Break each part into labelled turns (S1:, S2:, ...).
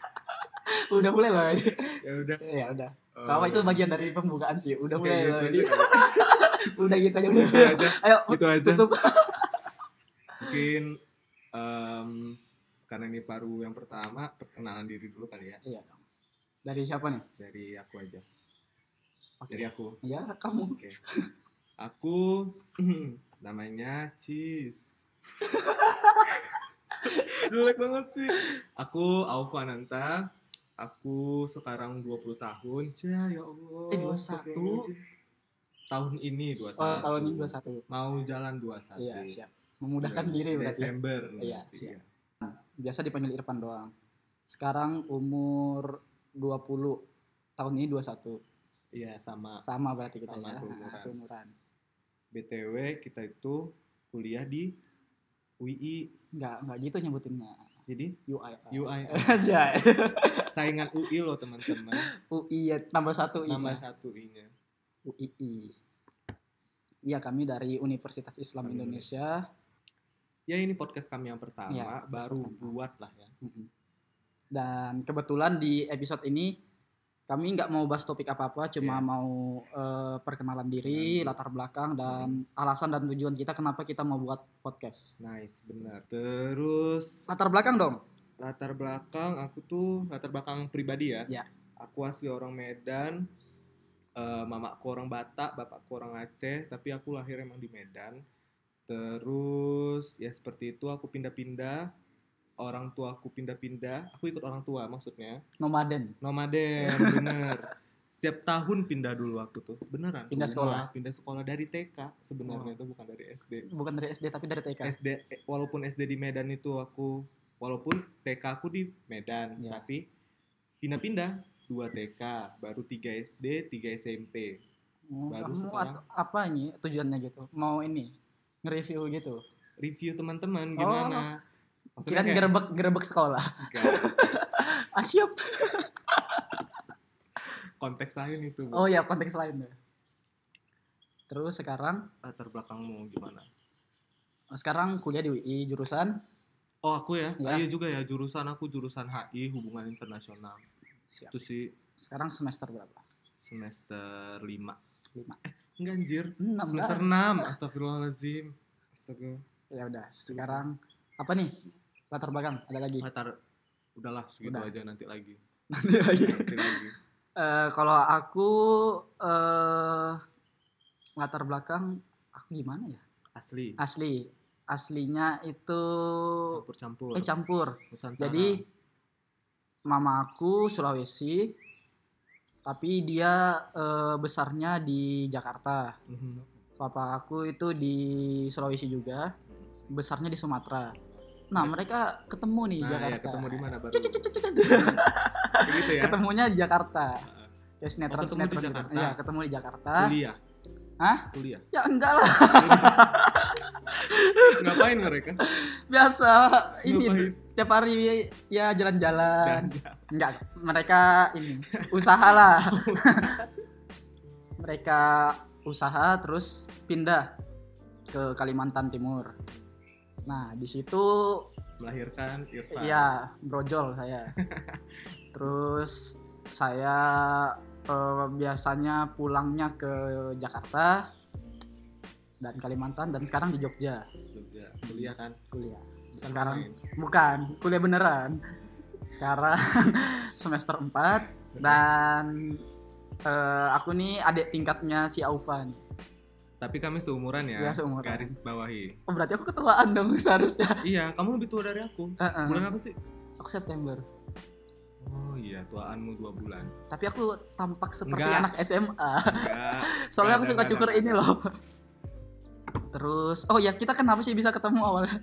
S1: udah mulai loh.
S2: ya udah
S1: ya udah.
S2: Eh,
S1: Kalau itu bagian dari pembukaan sih. Udah
S2: oke,
S1: mulai
S2: gitu
S1: loh.
S2: aja.
S1: Jadi, udah gitu aja udah.
S2: Gitu aja
S1: Ayo
S2: gitu aja
S1: tutup.
S2: mungkin em, karena ini baru yang pertama perkenalan diri dulu kali ya
S1: Iya dong. Dari siapa nih?
S2: dari aku aja
S1: Oke.
S2: dari aku
S1: Ya kamu.
S2: Oke. Aku namanya Cheese. Jelek banget sih. Aku Aufa Nanta. Aku sekarang 20 tahun. Ya ya Allah.
S1: Eh, 21.
S2: Tahun ini 21.
S1: Oh, tahun ini 21.
S2: Mau jalan 21.
S1: Iya, siap. Memudahkan diri berarti.
S2: Desember.
S1: Iya,
S2: nanti,
S1: siap. Biasa dipanggil Irfan doang. Sekarang umur 20. Tahun ini 21.
S2: Iya, sama.
S1: Sama berarti kita
S2: Sama,
S1: ya.
S2: seumuran.
S1: Nah, seumuran.
S2: BTW kita itu kuliah di UI.
S1: Enggak, enggak gitu nyebutinnya.
S2: Jadi
S1: UI.
S2: UI
S1: aja.
S2: saingan UI loh teman-teman.
S1: UI ya, tambah satu I.
S2: Nama satu I-nya.
S1: UII. Iya, kami dari Universitas Islam
S2: Kami
S1: Indonesia.
S2: ya ini podcast kami yang pertama
S1: Ya, podcast
S2: baru
S1: pertama.
S2: buat lah ya
S1: Mm-mm. Dan kebetulan di episode ini kami nggak mau bahas topik apa-apa, cuma
S2: Iya.
S1: mau eh, perkenalan diri,
S2: Hmm.
S1: latar belakang dan alasan dan tujuan kita kenapa kita mau buat podcast.
S2: nice benar terus
S1: Latar belakang dong.
S2: latar belakang aku tuh latar belakang pribadi ya,
S1: Ya.
S2: aku asli orang Medan Eh, mamaku orang Batak bapakku orang Aceh tapi aku lahir emang di Medan terus ya seperti itu aku pindah-pindah orang tua aku pindah-pindah aku ikut orang tua maksudnya
S1: Nomaden.
S2: nomaden bener setiap tahun pindah dulu aku tuh beneran
S1: Pindah
S2: Rumah, pindah sekolah dari TK
S1: Oh.
S2: sebenarnya itu bukan dari SD
S1: Bukan dari SD tapi dari TK.
S2: SD eh, walaupun SD di Medan itu aku walaupun TK aku di Medan
S1: Ya.
S2: tapi pindah-pindah 2 TK baru 3 SD 3 SMP
S1: Oh,
S2: baru
S1: kamu
S2: sekarang.
S1: at- apa ini tujuannya gitu? Mau ini nge-review gitu.
S2: review teman-teman
S1: Oh.
S2: gimana
S1: Kirain gerebek-gerebek sekolah.
S2: enggak,
S1: Ah, siap.
S2: konteks lain itu Bu.
S1: Oh ya, konteks lain deh. Terus sekarang
S2: latar belakangmu gimana
S1: sekarang kuliah di UI jurusan
S2: oh aku ya
S1: Ya.
S2: iya juga ya jurusan aku jurusan HI hubungan internasional
S1: siap.
S2: itu sih
S1: Sekarang semester berapa?
S2: semester 5
S1: Lima. Ah.
S2: enggak anjir
S1: 6
S2: semester
S1: lah.
S2: 6 astagfirullahalazim astaga
S1: Ya udah, sekarang apa nih? Latar belakang ada lagi.
S2: latar udahlah segitu
S1: Udah.
S2: aja nanti lagi
S1: Nanti lagi.
S2: nanti lagi
S1: Eh, kalau aku eh latar belakang aku gimana ya?
S2: asli
S1: Asli. Aslinya itu
S2: campur campur
S1: eh campur.
S2: Nusantara
S1: Jadi mama aku Sulawesi tapi dia eh, besarnya di Jakarta.
S2: Mhm.
S1: Papa aku itu di Sulawesi juga, besarnya di Sumatera. Nah, mereka ketemu nih di
S2: nah
S1: Jakarta.
S2: ya ketemu di mana baru
S1: Cuk, cuk, cuk, cuk, cuk.
S2: Kayak gitu ya
S1: Ketemunya di Jakarta.
S2: Heeh.
S1: Ya sinetron
S2: Oh, ketemu di
S1: sinetron gitu.
S2: Jakarta.
S1: Iya, ketemu di Jakarta.
S2: kuliah
S1: Hah?
S2: kuliah
S1: Ya enggak lah,
S2: ngapain mereka
S1: biasa ini
S2: Ngapain? Iya.
S1: tiap hari ya
S2: Dan,
S1: jalan-jalan. Enggak, mereka ini usaha lah. mereka usaha terus pindah ke Kalimantan Timur. Nah, di situ
S2: melahirkan Irfan
S1: Iya, brojol saya. Terus saya eh, biasanya pulangnya ke Jakarta dan Kalimantan dan sekarang di Jogja
S2: Jogja kuliah kan
S1: kuliah.
S2: Bukan
S1: Sekarang
S2: main.
S1: bukan kuliah beneran. Sekarang semester 4 dan eh, aku nih adik tingkatnya si Aufa nih.
S2: tapi kami seumuran ya
S1: Iya, seumuran.
S2: garis bawahi
S1: Oh, berarti aku ketuaan dong seharusnya.
S2: iya kamu lebih tua dari aku
S1: Heeh.
S2: bulan apa sih
S1: Aku September.
S2: oh iya tuaanmu dua bulan
S1: Tapi aku tampak seperti
S2: Enggak.
S1: anak SMA.
S2: enggak
S1: Soalnya aku
S2: Nggak,
S1: suka
S2: nggak,
S1: cukur
S2: nggak,
S1: ini
S2: nggak.
S1: loh. Terus, oh ya kita kenapa sih bisa ketemu awalnya?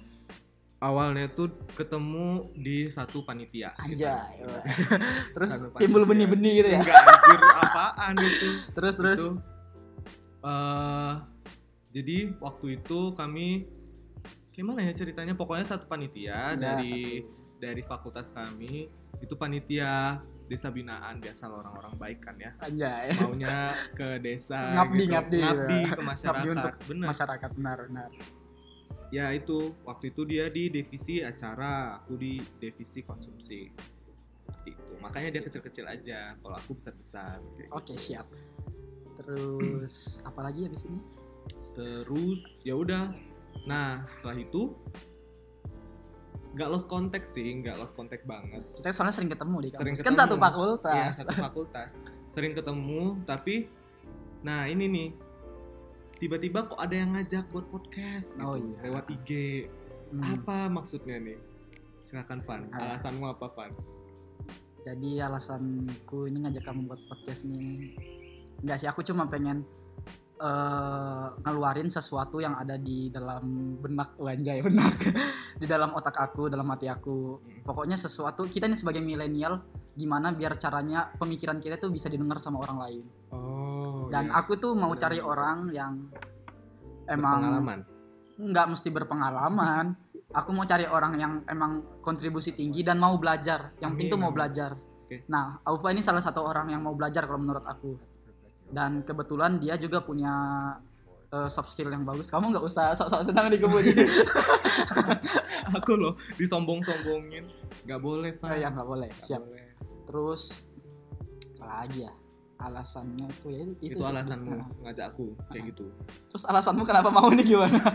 S2: awalnya tuh ketemu di satu panitia
S1: Anjay. iya.
S2: Gitu.
S1: Terus
S2: Anu,
S1: timbul
S2: pasti,
S1: benih-benih gitu ya.
S2: Enggak anjir apaan itu.
S1: Terus terus.
S2: Iya. Itu, eh, jadi waktu itu kami gimana ya ceritanya pokoknya satu
S1: Ya,
S2: panitia kan dari dari fakultas kami itu panitia desa binaan biasa lah orang-orang baik kan ya
S1: satu. Anjay.
S2: maunya ke desa
S1: Ngabdi,
S2: gitu.
S1: ngabdi,
S2: ke masyarakat
S1: untuk
S2: bener
S1: Masyarakat benar benar.
S2: ya itu waktu itu dia di divisi acara aku di divisi konsumsi seperti itu makanya dia kecil-kecil aja kalau aku besar-besar kayak
S1: Oke
S2: gitu.
S1: siap. Terus apalagi habis ini?
S2: terus ya udah nah setelah itu nggak lost contact sih nggak lost contact banget
S1: Kita soalnya sering ketemu di
S2: Sering
S1: kampus. Kan
S2: ketemu.
S1: satu
S2: Iya,
S1: fakultas.
S2: satu fakultas. Sering ketemu, tapi nah ini nih. Tiba-tiba kok ada yang ngajak buat podcast gitu,
S1: Oh, iya.
S2: lewat IG.
S1: Hmm,
S2: Apa maksudnya nih? Silakan Van,
S1: Ah.
S2: alasanmu apa Van?
S1: Jadi alasanku ini ngajak kamu buat podcast nih. Enggak sih, aku cuma pengen eh, ngeluarin sesuatu yang ada di dalam benak wanjay benak di dalam otak aku dalam hati aku
S2: Mm.
S1: pokoknya sesuatu kita nih sebagai milenial gimana biar caranya pemikiran kita tuh bisa didengar sama orang lain
S2: Oh.
S1: dan
S2: yes.
S1: aku tuh mau
S2: Benar.
S1: cari orang yang emang
S2: Berpengalaman.
S1: nggak mesti berpengalaman. Aku mau cari orang yang emang kontribusi tinggi dan mau belajar. Yang penting tuh
S2: Amin.
S1: mau belajar.
S2: Oke.
S1: Nah, Aufa ini salah satu orang yang mau belajar kalau menurut aku. Dan kebetulan dia juga punya eh, soft skill yang bagus. Kamu nggak usah sok-sok senang dikebukin.
S2: aku loh disombong-sombongin. Gak boleh, Van.
S1: oh, ya nggak boleh.
S2: Nggak
S1: Siap.
S2: boleh.
S1: Terus apa lagi ya? Alasannya itu ya itu,
S2: Itu,
S1: sih.
S2: alasanmu
S1: Nah,
S2: ngajak aku kayak
S1: Ah.
S2: gitu.
S1: Terus alasanmu kenapa mau nih gimana? Gitu.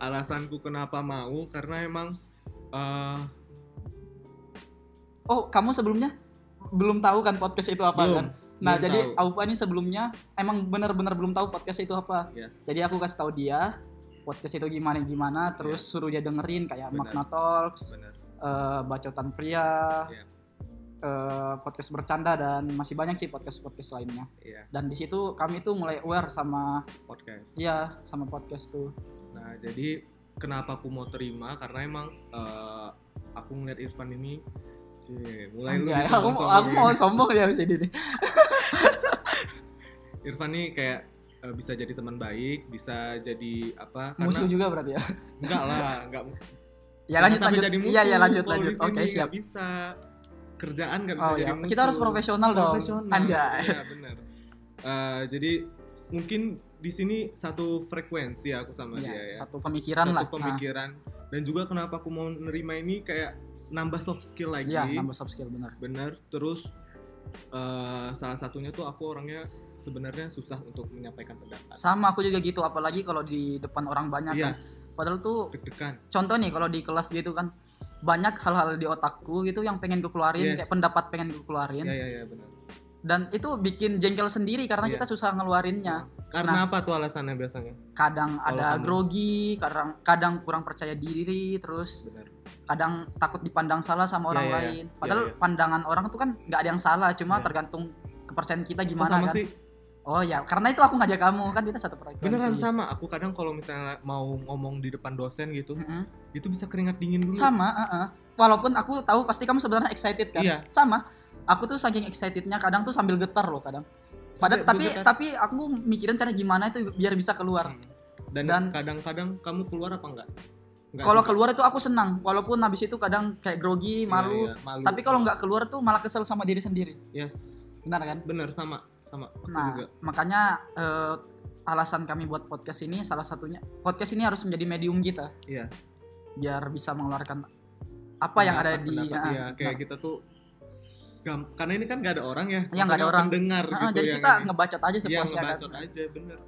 S2: Alasanku kenapa mau karena emang eh,
S1: Oh, kamu sebelumnya belum tahu kan podcast itu apa
S2: belum
S1: kan? Nah,
S2: belum
S1: jadi
S2: tahu.
S1: Aufa ini sebelumnya emang benar-benar belum tahu podcast itu apa.
S2: Yes.
S1: Jadi aku kasih tahu dia podcast itu gimana gimana, terus suruh dia dengerin kayak
S2: Iya. Benar.
S1: Magna Talks,
S2: Benar.
S1: eh, Bacotan Pria,
S2: Iya.
S1: eh, podcast bercanda dan masih banyak sih podcast-podcast lainnya.
S2: Iya,
S1: Dan di situ kami tuh mulai aware sama
S2: podcast.
S1: ya sama podcast tuh.
S2: Nah, jadi kenapa aku mau terima karena emang eh, aku ngeliat Irfan ini cie, mulai lu
S1: Anjay, aku mau-
S2: disombong-sombongin.
S1: aku mau sombong ya dia habis ini. nih.
S2: Irfan nih kayak eh, bisa jadi teman baik, bisa jadi apa? Karena
S1: Musuh juga berarti ya.
S2: enggak lah, enggak.
S1: Ya lanjut
S2: Jangan sampai
S1: lanjut.
S2: jadi musuh
S1: Iya ya lanjut
S2: kalau
S1: lanjut.
S2: di sini,
S1: Oke,
S2: nggak
S1: siap.
S2: bisa kerjaan nggak bisa
S1: Oh
S2: jadi
S1: ya,
S2: musuh.
S1: kita harus profesional dong.
S2: Profesional.
S1: Anjay.
S2: Iya, benar. Eh, jadi mungkin di sini satu frekuensi aku sama dia
S1: Iya,
S2: ya.
S1: satu pemikiran lah.
S2: satu
S1: Nah,
S2: pemikiran dan juga kenapa aku mau nerima ini kayak nambah soft skill lagi
S1: Iya, nambah soft skill benar.
S2: bener terus eh, salah satunya tuh aku orangnya sebenarnya susah untuk menyampaikan pendapat
S1: Sama aku juga gitu, apalagi kalau di depan orang banyak kan.
S2: iya
S1: Padahal tuh
S2: deg-degan
S1: contoh nih kalau di kelas gitu kan banyak hal-hal di otakku gitu yang pengen ku keluarin,
S2: Yes.
S1: kayak pendapat pengen ku keluarin
S2: iya iya iya bener
S1: dan itu bikin jengkel sendiri karena
S2: Iya.
S1: kita susah ngeluarinnya. Nah.
S2: karena apa tuh alasannya biasanya
S1: Kadang
S2: Kalau
S1: ada
S2: kamu-
S1: grogi, kadang kadang kurang percaya diri, terus
S2: bener
S1: kadang takut dipandang salah sama orang
S2: Iya, iya, iya.
S1: lain. Padahal
S2: Iya, iya.
S1: pandangan orang tuh kan nggak ada yang salah, cuma
S2: Iya.
S1: tergantung kepercayaan kita
S2: Kok
S1: gimana
S2: sama
S1: kan.
S2: sih
S1: Oh ya, karena itu aku ngajak kamu kan kita satu frekuensi.
S2: beneran sama aku kadang kalau misalnya mau ngomong di depan dosen gitu
S1: Mm-mm.
S2: itu bisa keringat dingin dulu
S1: Hmm. sama uh-uh. walaupun aku tahu pasti kamu sebenarnya excited kan
S2: Iya.
S1: sama aku tuh saking excitednya kadang tuh sambil getar loh kadang
S2: Sampai
S1: padahal
S2: aku
S1: tapi
S2: getar.
S1: tapi aku mikirin cara gimana itu biar bisa keluar
S2: Hmm. dan,
S1: Dan-
S2: kadang-kadang kamu keluar apa enggak Enggak
S1: kalau
S2: juga.
S1: keluar itu aku senang walaupun habis itu kadang kayak grogi
S2: Iya,
S1: malu
S2: iya, malu
S1: tapi kalau nggak keluar tuh malah kesel sama diri sendiri
S2: yes
S1: benar kan
S2: Bener sama sama aku
S1: nah
S2: juga.
S1: makanya eh, alasan kami buat podcast ini salah satunya podcast ini harus menjadi medium kita
S2: Iya.
S1: biar bisa mengeluarkan apa yang ada di
S2: Pendapat-pendapat,
S1: ah,
S2: iya, kayak
S1: benar.
S2: kita tuh gam- karena ini kan gak ada orang ya.
S1: Iya, nggak ada
S2: maksudnya
S1: orang.
S2: Pendengar
S1: Ah,
S2: gitu
S1: jadi
S2: yang
S1: kita
S2: ini.
S1: ngebacot aja
S2: Iya,
S1: sepuasnya kan
S2: ngebacot aja bener.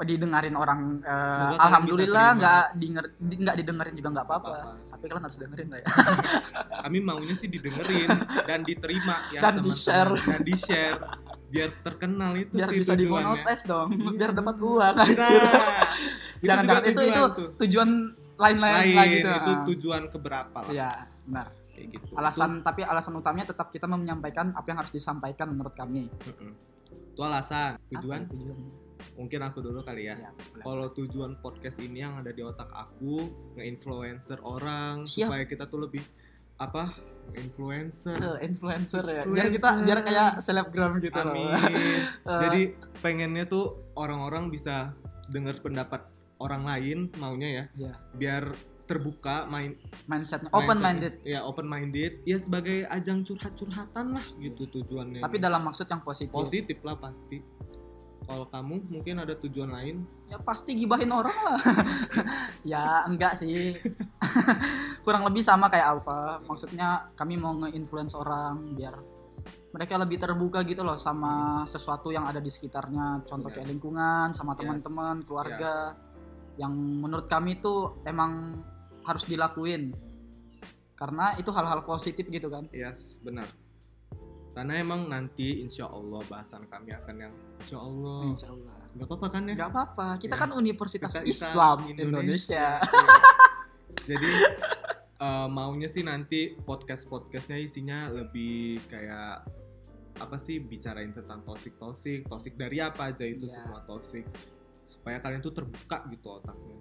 S1: didengarin orang eh,
S2: kalian bisa
S1: alhamdulillah
S2: terima.
S1: nggak dinger di- nggak didengerin juga nggak apa-apa
S2: Apa-apa.
S1: tapi kalian harus dengerin lah ya
S2: Kami maunya sih didengerin dan diterima ya
S1: Dan
S2: teman-teman.
S1: di-share.
S2: dan di-share biar terkenal itu
S1: biar
S2: sih
S1: bisa
S2: tujuannya.
S1: dimonotes dong
S2: Iya,
S1: biar dapat
S2: bener.
S1: uang
S2: Nah,
S1: Jangan
S2: juga
S1: jangan itu
S2: tujuan
S1: itu
S2: tuh.
S1: tujuan lain-lain
S2: lain
S1: lah gitu
S2: itu
S1: Ah,
S2: tujuan keberapa lah
S1: iya benar
S2: kayak gitu.
S1: alasan tapi alasan utamanya tetap kita menyampaikan apa yang harus disampaikan menurut kami
S2: itu, Mm-mm. itu alasan tujuan
S1: apa ya tujuannya?
S2: mungkin aku dulu kali ya.
S1: Ya, boleh.
S2: kalau tujuan podcast ini yang ada di otak aku nge-influencer orang
S1: Siap.
S2: supaya kita tuh lebih apa influencer
S1: Eh, influencer ya biar kita
S2: Influencer.
S1: biar kayak selebgram gitu
S2: amin
S1: loh Eh,
S2: jadi pengennya tuh orang-orang bisa dengar pendapat orang lain maunya ya
S1: Iya.
S2: biar terbuka main
S1: mindsetnya open minded
S2: mindset- ya open minded ya sebagai ajang curhat-curhatan lah gitu tujuannya
S1: tapi dalam maksud yang positif
S2: positif lah pasti kalau kamu mungkin ada tujuan lain
S1: ya pasti gibahin orang lah ya enggak sih kurang lebih sama kayak Alfa maksudnya kami mau nge-influence orang biar mereka lebih terbuka gitu loh sama sesuatu yang ada di sekitarnya contoh
S2: Benar.
S1: kayak lingkungan sama
S2: Iya. Yes. Iya.
S1: teman-teman keluarga yang menurut kami itu emang harus dilakuin karena itu hal-hal positif gitu kan
S2: Yes, benar. Karena emang nanti insya Allah bahasan kami akan yang insya Allah.
S1: Insya Allah.
S2: Gak apa-apa kan ya?
S1: Hmm. nggak apa-apa kita
S2: Ya.
S1: kan Universitas
S2: Oh. Kita- kita
S1: Islam Indonesia.
S2: Iya. Jadi eh, maunya sih nanti podcast-podcastnya isinya lebih kayak apa sih bicarain tentang toxic toxic toxic dari apa aja itu
S1: Iya.
S2: semua toxic supaya kalian tuh terbuka gitu otaknya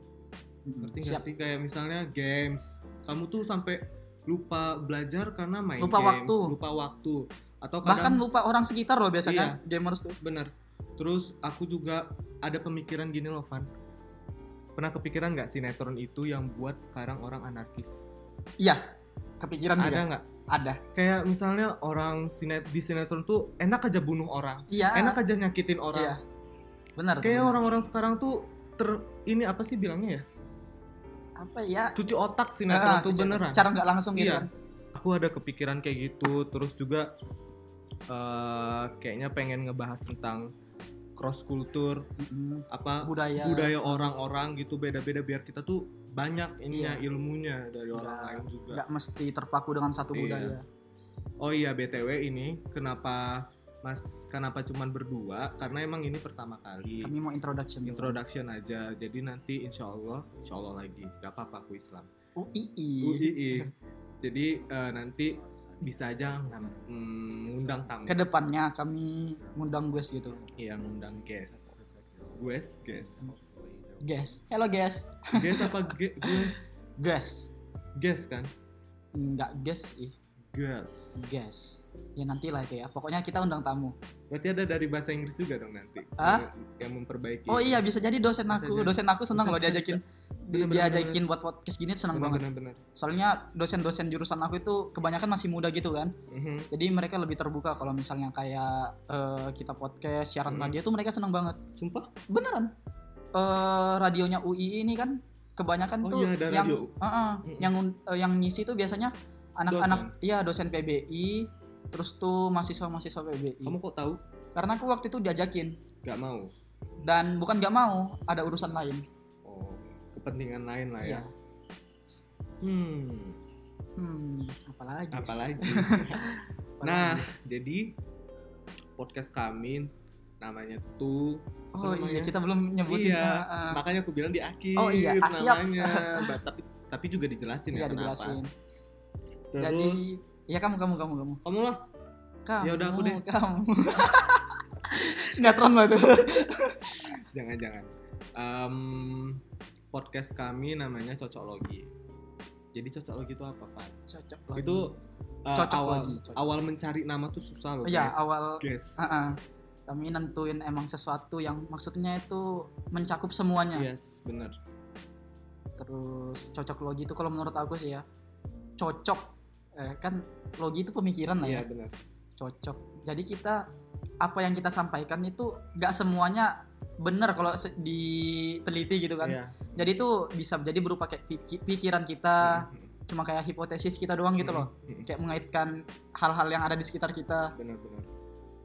S1: Mm,
S2: ngerti nggak
S1: siap
S2: sih kayak misalnya games kamu tuh sampai lupa belajar karena main
S1: Lupa
S2: games,
S1: waktu.
S2: lupa waktu atau
S1: bahkan
S2: kadang Iya.
S1: lupa orang sekitar loh biasanya gamers tuh
S2: bener terus aku juga ada pemikiran gini loh Van pernah kepikiran nggak sinetron itu yang buat sekarang orang anarkis
S1: iya kepikiran
S2: ada
S1: juga
S2: nggak
S1: ada
S2: kayak misalnya orang sinet di sinetron tuh enak aja bunuh orang
S1: iya
S2: enak aja nyakitin
S1: iya
S2: orang
S1: benar
S2: kayak
S1: benar.
S2: orang-orang sekarang tuh ter ini apa sih bilangnya ya
S1: apa ya
S2: cuci otak
S1: Ah,
S2: sinetron tuh
S1: kece-
S2: beneran
S1: secara nggak langsung gitu
S2: Iya.
S1: kan
S2: aku ada kepikiran kayak gitu terus juga eh, kayaknya pengen ngebahas tentang cross kultur
S1: Mm-mm.
S2: apa
S1: budaya
S2: budaya orang-orang gitu beda-beda biar kita tuh banyak ininya ilmunya dari orang
S1: Nggak-
S2: lain juga
S1: nggak mesti terpaku dengan satu
S2: Iya.
S1: budaya
S2: oh iya btw ini kenapa mas kenapa cuman berdua karena emang ini pertama kali
S1: kami mau introduction dulu.
S2: introduction aja jadi nanti insya Allah insya Allah lagi gak apa-apa aku Islam
S1: UII
S2: UII jadi eh, nanti bisa aja mm, ngundang tamu
S1: kedepannya kami ngundang guest gitu
S2: Iya ngundang guest. Guest, guest.
S1: guest hello guest
S2: Guest apa ge- guest?
S1: guest
S2: Guest kan?
S1: nggak guest ih
S2: Guest.
S1: guest ya nanti lah kayak pokoknya kita undang tamu
S2: Berarti ada dari bahasa Inggris juga dong nanti.
S1: Hah?
S2: Yang memperbaiki.
S1: oh iya bisa jadi dosen
S2: Bisa
S1: aku
S2: jadi.
S1: dosen aku seneng
S2: Bisa,
S1: loh
S2: bisa,
S1: diajakin di-
S2: Bener, bener,
S1: diajakin buat podcast gini tuh seneng banget
S2: Benar-benar.
S1: soalnya dosen-dosen jurusan aku itu kebanyakan masih muda gitu kan
S2: Mhm.
S1: jadi mereka lebih terbuka kalau misalnya kayak eh, kita podcast siaran
S2: Hmm.
S1: radio tuh mereka senang banget
S2: Sumpah?
S1: Iya. beneran eh radionya UI ini kan kebanyakan
S2: Oh
S1: tuh
S2: iya, ada
S1: yang
S2: radio. Hmm.
S1: Heeh,
S2: Mm-mm.
S1: yang eh, yang ngisi tuh biasanya anak-anak iya dosen PBI terus tuh mahasiswa-mahasiswa PBI
S2: Kamu kok tahu?
S1: karena aku waktu itu diajakin
S2: Gak mau.
S1: dan bukan gak mau ada urusan lain
S2: Oh, kepentingan lain lah ya.
S1: iya
S2: Hmm,
S1: hmm apalagi
S2: apalagi.
S1: Apalagi.
S2: nah, jadi podcast kami namanya tuh
S1: oh iya
S2: apa namanya?
S1: kita belum nyebutin
S2: Iya,
S1: ah, ah.
S2: makanya aku bilang di akhir
S1: Oh iya, ah, siap.
S2: namanya. Ba- tapi tapi juga dijelasin
S1: Iya,
S2: ya kenapa.
S1: dijelasin
S2: Terus,
S1: jadi ya kamu kamu kamu kamu
S2: kamu lah
S1: Kamu,
S2: Ya udah, aku deh.
S1: Kamu. Sinetron lah itu.
S2: jangan-jangan Em, podcast kami namanya cocoklogi jadi cocoklogi itu apa pak
S1: Cocok lagi.
S2: itu eh,
S1: Cocok
S2: awal
S1: lagi, cocok.
S2: awal mencari nama tuh susah loh
S1: ya
S2: guys.
S1: awal
S2: Guys.
S1: ah-ah. kami nentuin emang sesuatu yang maksudnya itu mencakup semuanya.
S2: yes bener
S1: Terus cocok logi itu kalau menurut aku sih ya cocok eh, kan logi itu pemikiran lah
S2: iya
S1: ya.
S2: bener
S1: Cocok. Jadi kita apa yang kita sampaikan itu nggak semuanya benar kalau se- diteliti gitu kan.
S2: Iya.
S1: Jadi itu bisa jadi berupa kayak pik- pikiran kita,
S2: Mm, mm,
S1: cuma kayak hipotesis kita doang eh, gitu
S2: mm,
S1: loh.
S2: mm, mm.
S1: kayak mengaitkan hal-hal yang ada di sekitar kita.
S2: benar-benar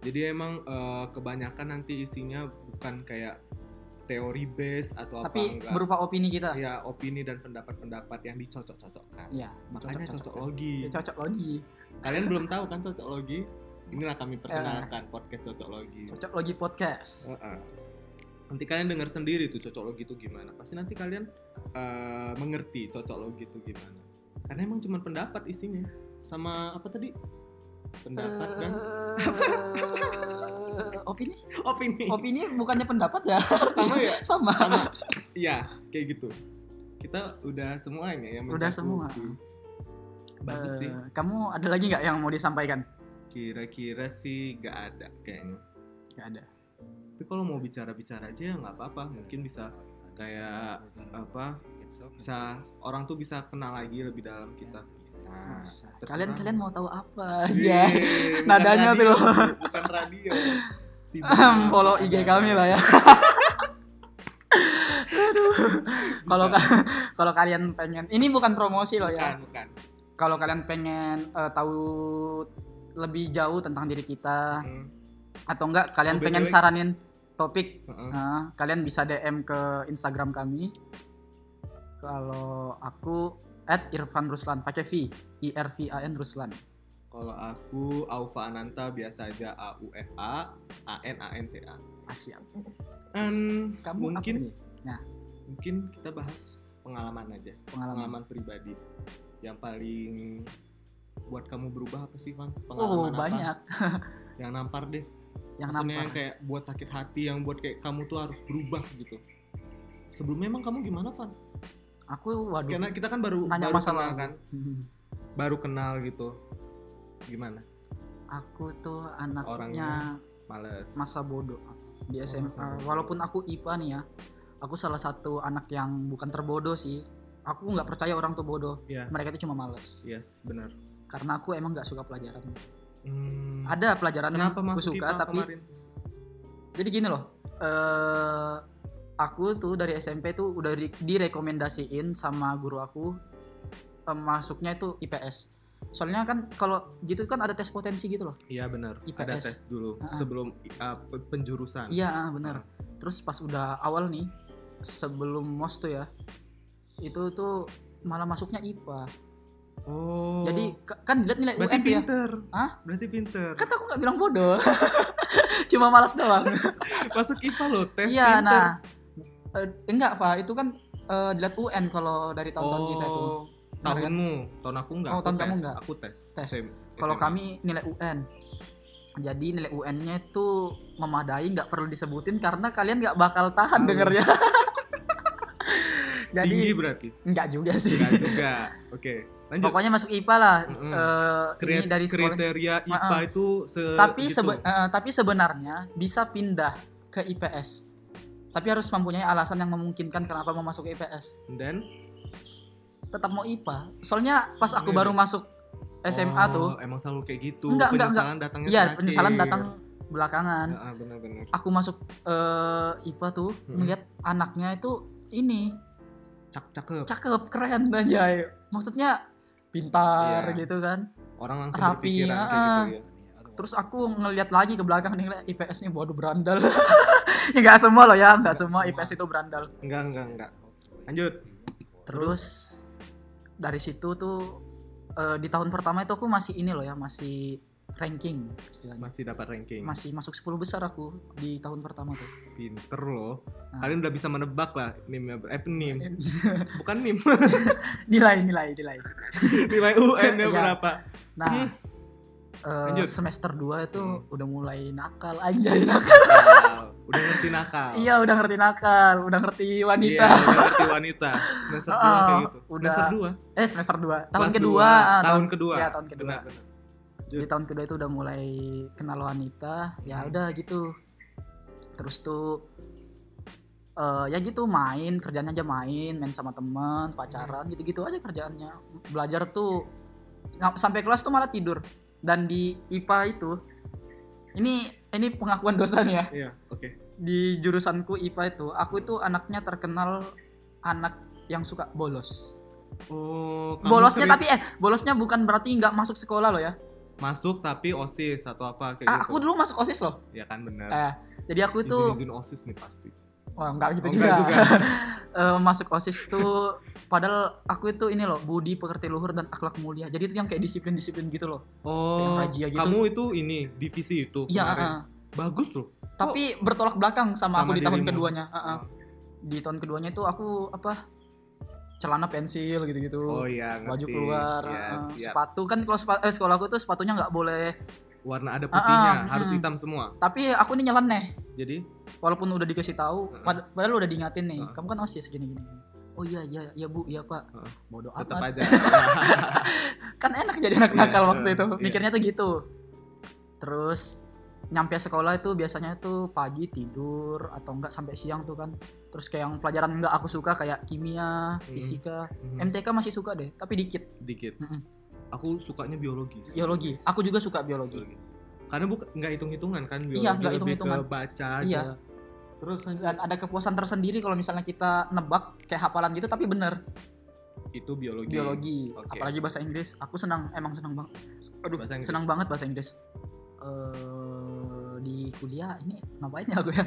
S2: jadi emang eh, kebanyakan nanti isinya bukan kayak teori base atau
S1: tapi
S2: apa enggak
S1: berupa opini kita.
S2: ya opini dan pendapat-pendapat yang dicocok-cocokkan
S1: Iya,
S2: makanya
S1: cocok-cocok.
S2: cocoklogi
S1: Ya, cocok logi.
S2: kalian belum tahu kan cocoklogi inilah kami perkenalkan podcast
S1: Eh.
S2: cocoklogi
S1: Cocok logi podcast.
S2: Heeh. nanti kalian dengar sendiri tuh cocoklogi itu gimana pasti nanti kalian eh, mengerti cocoklogi itu gimana karena emang cuma pendapat isinya sama apa tadi pendapat kan? dan
S1: Eh, opini?
S2: opini
S1: Opini bukannya pendapat ya?
S2: sama ya
S1: Sama.
S2: sama iya kayak gitu kita udah semua ini ya yang
S1: Udah
S2: mencakup.
S1: semua.
S2: bagus sih
S1: Eh, Kamu ada lagi nggak yang mau disampaikan?
S2: kira-kira sih nggak ada kayaknya
S1: Gak ada.
S2: tapi kalau mau bicara-bicara aja ya nggak apa-apa mungkin bisa kayak apa bisa orang tuh bisa kenal lagi lebih dalam kita bisa
S1: Bisa.
S2: terserah.
S1: Kalian kalian mau tahu apa?
S2: Iya,
S1: Iya.
S2: bukan
S1: Nadanya tuh
S2: radio,
S1: loh.
S2: bukan radio Sibuk.
S1: ya. Follow IG kami lah ya. Aduh. Kalau ka- kalau kalian pengen, ini bukan promosi loh ya.
S2: bukan, bukan.
S1: Kalau kalian pengen eh, tahu lebih jauh tentang diri kita
S2: Hmm,
S1: atau enggak kalian
S2: Oh, by the
S1: pengen
S2: way-
S1: saranin topik,
S2: heeh.
S1: nah, kalian bisa DM ke Instagram kami. Kalau aku at Irfan Ruslan pakai V I R V A N Ruslan
S2: Kalau aku Aufa Ananta biasa aja A U F A A N A N T A.
S1: Asia.
S2: Em,
S1: Ah, Kamu
S2: mungkin
S1: apa nih
S2: mungkin kita bahas pengalaman aja,
S1: pengalaman?
S2: pengalaman pribadi yang paling buat kamu berubah apa sih, Bang?
S1: Oh
S2: Pengalaman apa?
S1: banyak
S2: Yang nampar deh.
S1: yang
S2: Maksudnya
S1: nampak.
S2: yang kayak buat sakit hati, yang buat kayak kamu tuh harus berubah gitu. Sebelumnya emang kamu gimana, Van?
S1: Aku waduh.
S2: Karena kita kan baru
S1: Nanya
S2: baru
S1: masa
S2: kenal
S1: lalu.
S2: kan,
S1: Hmm.
S2: baru kenal gitu. Gimana?
S1: Aku tuh
S2: Orangnya
S1: anaknya
S2: Males.
S1: masa bodoh di
S2: Oh,
S1: SMA.
S2: masa bodoh.
S1: Walaupun aku IPA nih ya, aku salah satu anak yang bukan terbodoh sih. Aku nggak percaya orang tuh bodoh.
S2: Iya.
S1: Mereka tuh cuma males.
S2: Yes, benar.
S1: Karena aku emang nggak suka pelajaran.
S2: Hmm,
S1: Ada pelajaran
S2: Kenapa
S1: yang aku
S2: masuk
S1: suka,
S2: IPA
S1: tapi
S2: kemarin?
S1: jadi gini loh. eh aku tuh dari SMP tuh udah di- direkomendasiin sama guru aku eh, masuknya itu IPS. Soalnya kan kalau gitu kan ada tes potensi gitu loh.
S2: Iya benar. Ada
S1: IPS.
S2: tes dulu
S1: Ah, ah.
S2: sebelum uh, pe- penjurusan.
S1: Iya benar. Terus pas udah awal nih sebelum mos tuh ya itu tuh malah masuknya IPA.
S2: Oh.
S1: Jadi ka- kan dilihat nilai
S2: berarti
S1: UN tuh ya.
S2: pinter.
S1: Hah?
S2: Berarti pinter.
S1: Kata aku nggak bilang bodoh. Cuma malas doang.
S2: Masuk IPA loh, tes
S1: Iya,
S2: pinter.
S1: nah. Eh, enggak, Pak. Itu kan eh, dilihat UN kalau dari tahun-tahun
S2: oh,
S1: kita tuh. Benar kan?
S2: Tahunmu, tahun aku enggak.
S1: Oh,
S2: aku
S1: tahun
S2: tes.
S1: kamu enggak?
S2: Aku tes.
S1: Tes.
S2: Sem-
S1: Kalau
S2: SMA.
S1: kami nilai UN. Jadi nilai UN-nya itu memadai nggak perlu disebutin karena kalian nggak bakal tahan
S2: Tahu.
S1: dengernya.
S2: tinggi
S1: Jadi
S2: berarti.
S1: nggak juga sih.
S2: Enggak juga. Oke, lanjut.
S1: Pokoknya masuk IPA lah.
S2: Mm-mm.
S1: Eh,
S2: Kri-
S1: ini dari sekolah.
S2: kriteria IPA
S1: Ah, ah.
S2: itu se-
S1: Tapi
S2: gitu.
S1: sebe- eh, tapi sebenarnya bisa pindah ke IPS. Tapi harus mempunyai alasan yang memungkinkan kenapa mau masuk ke IPS.
S2: And then
S1: Tetap mau IPA. Soalnya pas aku
S2: Iya,
S1: baru masuk SMA
S2: oh,
S1: tuh,
S2: emang selalu kayak gitu.
S1: Enggak, enggak,
S2: penyesalan datangnya
S1: iya
S2: terakhir.
S1: penyesalan datang belakangan.
S2: Ah, ah, benar-benar.
S1: Aku masuk eh, IPA tuh
S2: Mm-mm.
S1: melihat anaknya itu ini
S2: Cak cakep.
S1: cakep, keren aja. Maksudnya pintar
S2: Iya.
S1: gitu kan.
S2: Orang langsung
S1: Rapi,
S2: berpikiran
S1: ah,
S2: kayak gitu ya.
S1: Terus aku ngelihat lagi ke belakang nih ngeliat IPS nih waduh berandal. ya enggak semua loh ya, enggak semua IPS itu berandal.
S2: Enggak, enggak, enggak. Lanjut.
S1: Terus dari situ tuh eh, di tahun pertama itu aku masih ini loh ya, masih ranking istilahnya.
S2: Masih dapat ranking.
S1: Masih masuk 10 besar aku di tahun pertama tuh.
S2: Pinter loh.
S1: Ah.
S2: Kalian udah bisa menebak lah meme eh meme.
S1: Iya.
S2: Bukan meme.
S1: nilai nilai nilai.
S2: Nilai UN nya
S1: Iya.
S2: berapa?
S1: Nah, eh,
S2: Hmm. Lanjut.
S1: semester 2 itu
S2: Hmm.
S1: udah mulai nakal anjay nakal.
S2: Nakal. udah ngerti nakal.
S1: Iya, udah ngerti nakal, udah ngerti
S2: Iya,
S1: wanita.
S2: udah ngerti wanita. Semester 2 kayak
S1: Oh,
S2: gitu.
S1: udah.
S2: Semester 2.
S1: Eh, semester 2, tahun
S2: Kelas
S1: kedua,
S2: dua,
S1: ah,
S2: tahun kedua.
S1: Iya, tahun kedua.
S2: Benar, benar.
S1: di tahun kedua itu udah mulai kenal wanita ya
S2: Iya. Hmm.
S1: udah gitu terus tuh eh, ya gitu main kerjaan aja main main sama temen
S2: Hmm.
S1: pacaran gitu-gitu aja kerjaannya belajar tuh na- sampai kelas tuh malah tidur dan di IPA itu ini ini pengakuan dosa nih ya
S2: Iya, oke.
S1: di jurusanku IPA itu aku itu anaknya terkenal anak yang suka bolos
S2: Oh, kamu
S1: bolosnya
S2: sering
S1: tapi eh bolosnya bukan berarti nggak masuk sekolah loh ya
S2: masuk tapi OSIS atau apa kayak
S1: Ah,
S2: gitu.
S1: aku dulu masuk osis loh
S2: Ya kan benar.
S1: Eh, jadi aku itu
S2: izin OSIS nih pasti.
S1: oh, enggak gitu
S2: Oh,
S1: juga,
S2: enggak juga.
S1: Eh, masuk osis tuh padahal aku itu ini loh budi pekerti luhur dan akhlak mulia jadi itu yang kayak disiplin disiplin gitu loh
S2: Oh,
S1: Rajia gitu.
S2: kamu itu ini divisi itu.
S1: iya
S2: kemarin.
S1: eh, eh.
S2: Bagus loh.
S1: tapi bertolak belakang sama,
S2: Sama
S1: aku di tahun
S2: dirimu. Oh.
S1: keduanya Eh, eh. di tahun keduanya itu aku apa celana pensil gitu gitu
S2: Oh iya,
S1: baju
S2: ngerti.
S1: keluar
S2: Yes,
S1: eh,
S2: iya.
S1: sepatu kan kalau sepa- eh, sekolah aku tuh sepatunya nggak boleh
S2: Warna ada putihnya,
S1: ah,
S2: harus
S1: mm.
S2: hitam semua.
S1: tapi aku ini nyeleneh
S2: Jadi,
S1: walaupun udah dikasih tahu
S2: Heeh.
S1: pad- padahal udah diingatin nih
S2: Heeh.
S1: kamu kan osis gini gini gini. oh iya iya iya bu iya pak
S2: Heeh.
S1: bodoh
S2: tetap
S1: amat
S2: aja.
S1: kan enak jadi anak nakal
S2: Iya,
S1: waktu
S2: iya,
S1: itu
S2: iya.
S1: mikirnya tuh gitu terus nyampe sekolah itu biasanya itu pagi tidur atau enggak sampai siang tuh kan terus kayak yang pelajaran enggak aku suka kayak kimia
S2: Mm.
S1: fisika
S2: Hmm,
S1: MTK masih suka deh tapi dikit
S2: dikit.
S1: Mm-mm. Iya,
S2: Aku sukanya biologi.
S1: biologi aku juga suka biologi
S2: Biologi. Karena bukan nggak hitung-hitungan kan biologi
S1: Iya, nggak
S2: lebih
S1: hitung-hitungan.
S2: ke baca
S1: Iya.
S2: aja. Terus kan, lanjut.
S1: dan ada kepuasan tersendiri kalau misalnya kita nebak kayak hafalan gitu tapi bener
S2: itu biologi.
S1: biologi
S2: Oke.
S1: apalagi bahasa Inggris aku senang emang senang banget aduh
S2: Bahasa Inggris.
S1: senang banget bahasa Inggris eh di kuliah ini ngapain ya aku ya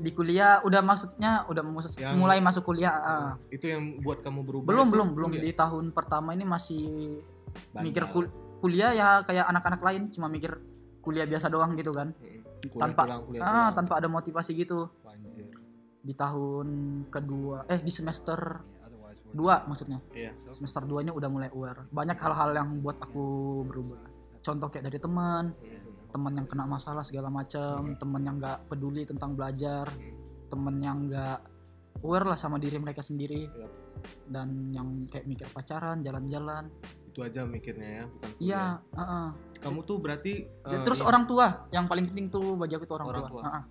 S1: di kuliah udah maksudnya udah masuk-
S2: Yang-
S1: mulai masuk kuliah ah.
S2: Itu yang buat kamu berubah.
S1: belum
S2: itu
S1: belum belum
S2: ya?
S1: di tahun pertama ini masih
S2: Bandar.
S1: mikir kul- kuliah ya kayak anak-anak lain cuma mikir kuliah biasa doang gitu kan
S2: Mm-mm. Kuliah
S1: tanpa-
S2: pulang, kuliah
S1: ah
S2: pulang.
S1: tanpa ada motivasi gitu
S2: Anjir.
S1: di tahun kedua eh di semester dua maksudnya
S2: Iya.
S1: semester 2 ini udah mulai aware banyak hal-hal yang buat aku berubah contoh kayak dari teman
S2: iya.
S1: teman yang kena masalah segala macam teman yang nggak peduli tentang belajar teman yang nggak aware lah sama diri mereka sendiri
S2: Yap.
S1: dan yang kayak mikir pacaran jalan-jalan
S2: Itu aja mikirnya ya, bukan kuliah.
S1: iya heeh.
S2: Kamu tuh berarti
S1: Ya,
S2: eh,
S1: terus
S2: ini-
S1: orang tua yang paling penting tuh bagi aku tuh orang,
S2: Orang
S1: tua,
S2: tua.
S1: Heeh.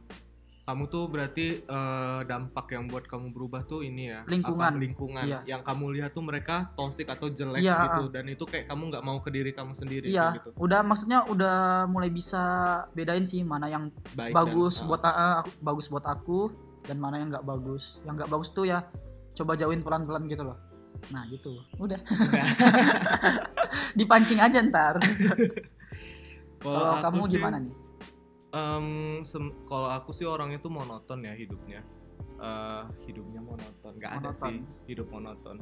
S2: kamu tuh berarti eh, dampak yang buat kamu berubah tuh ini ya
S1: Lingkungan.
S2: apa, lingkungan
S1: Iya.
S2: yang kamu lihat tuh mereka toxic atau jelek
S1: Iya,
S2: gitu dan itu kayak kamu nggak mau ke diri kamu sendiri
S1: iya
S2: kayak gitu
S1: udah maksudnya udah mulai bisa bedain sih mana yang
S2: baik
S1: bagus
S2: dan,
S1: buat a- aku, bagus buat aku dan mana yang nggak bagus yang nggak bagus tuh ya coba jauhin pelan-pelan gitu loh nah gitu udah dipancing aja ntar kalau
S2: aku
S1: kamu
S2: sih,
S1: gimana nih
S2: em, sem- kalau aku sih orang itu monoton ya hidupnya Eh, hidupnya monoton nggak ada
S1: Monoton.
S2: sih hidup monoton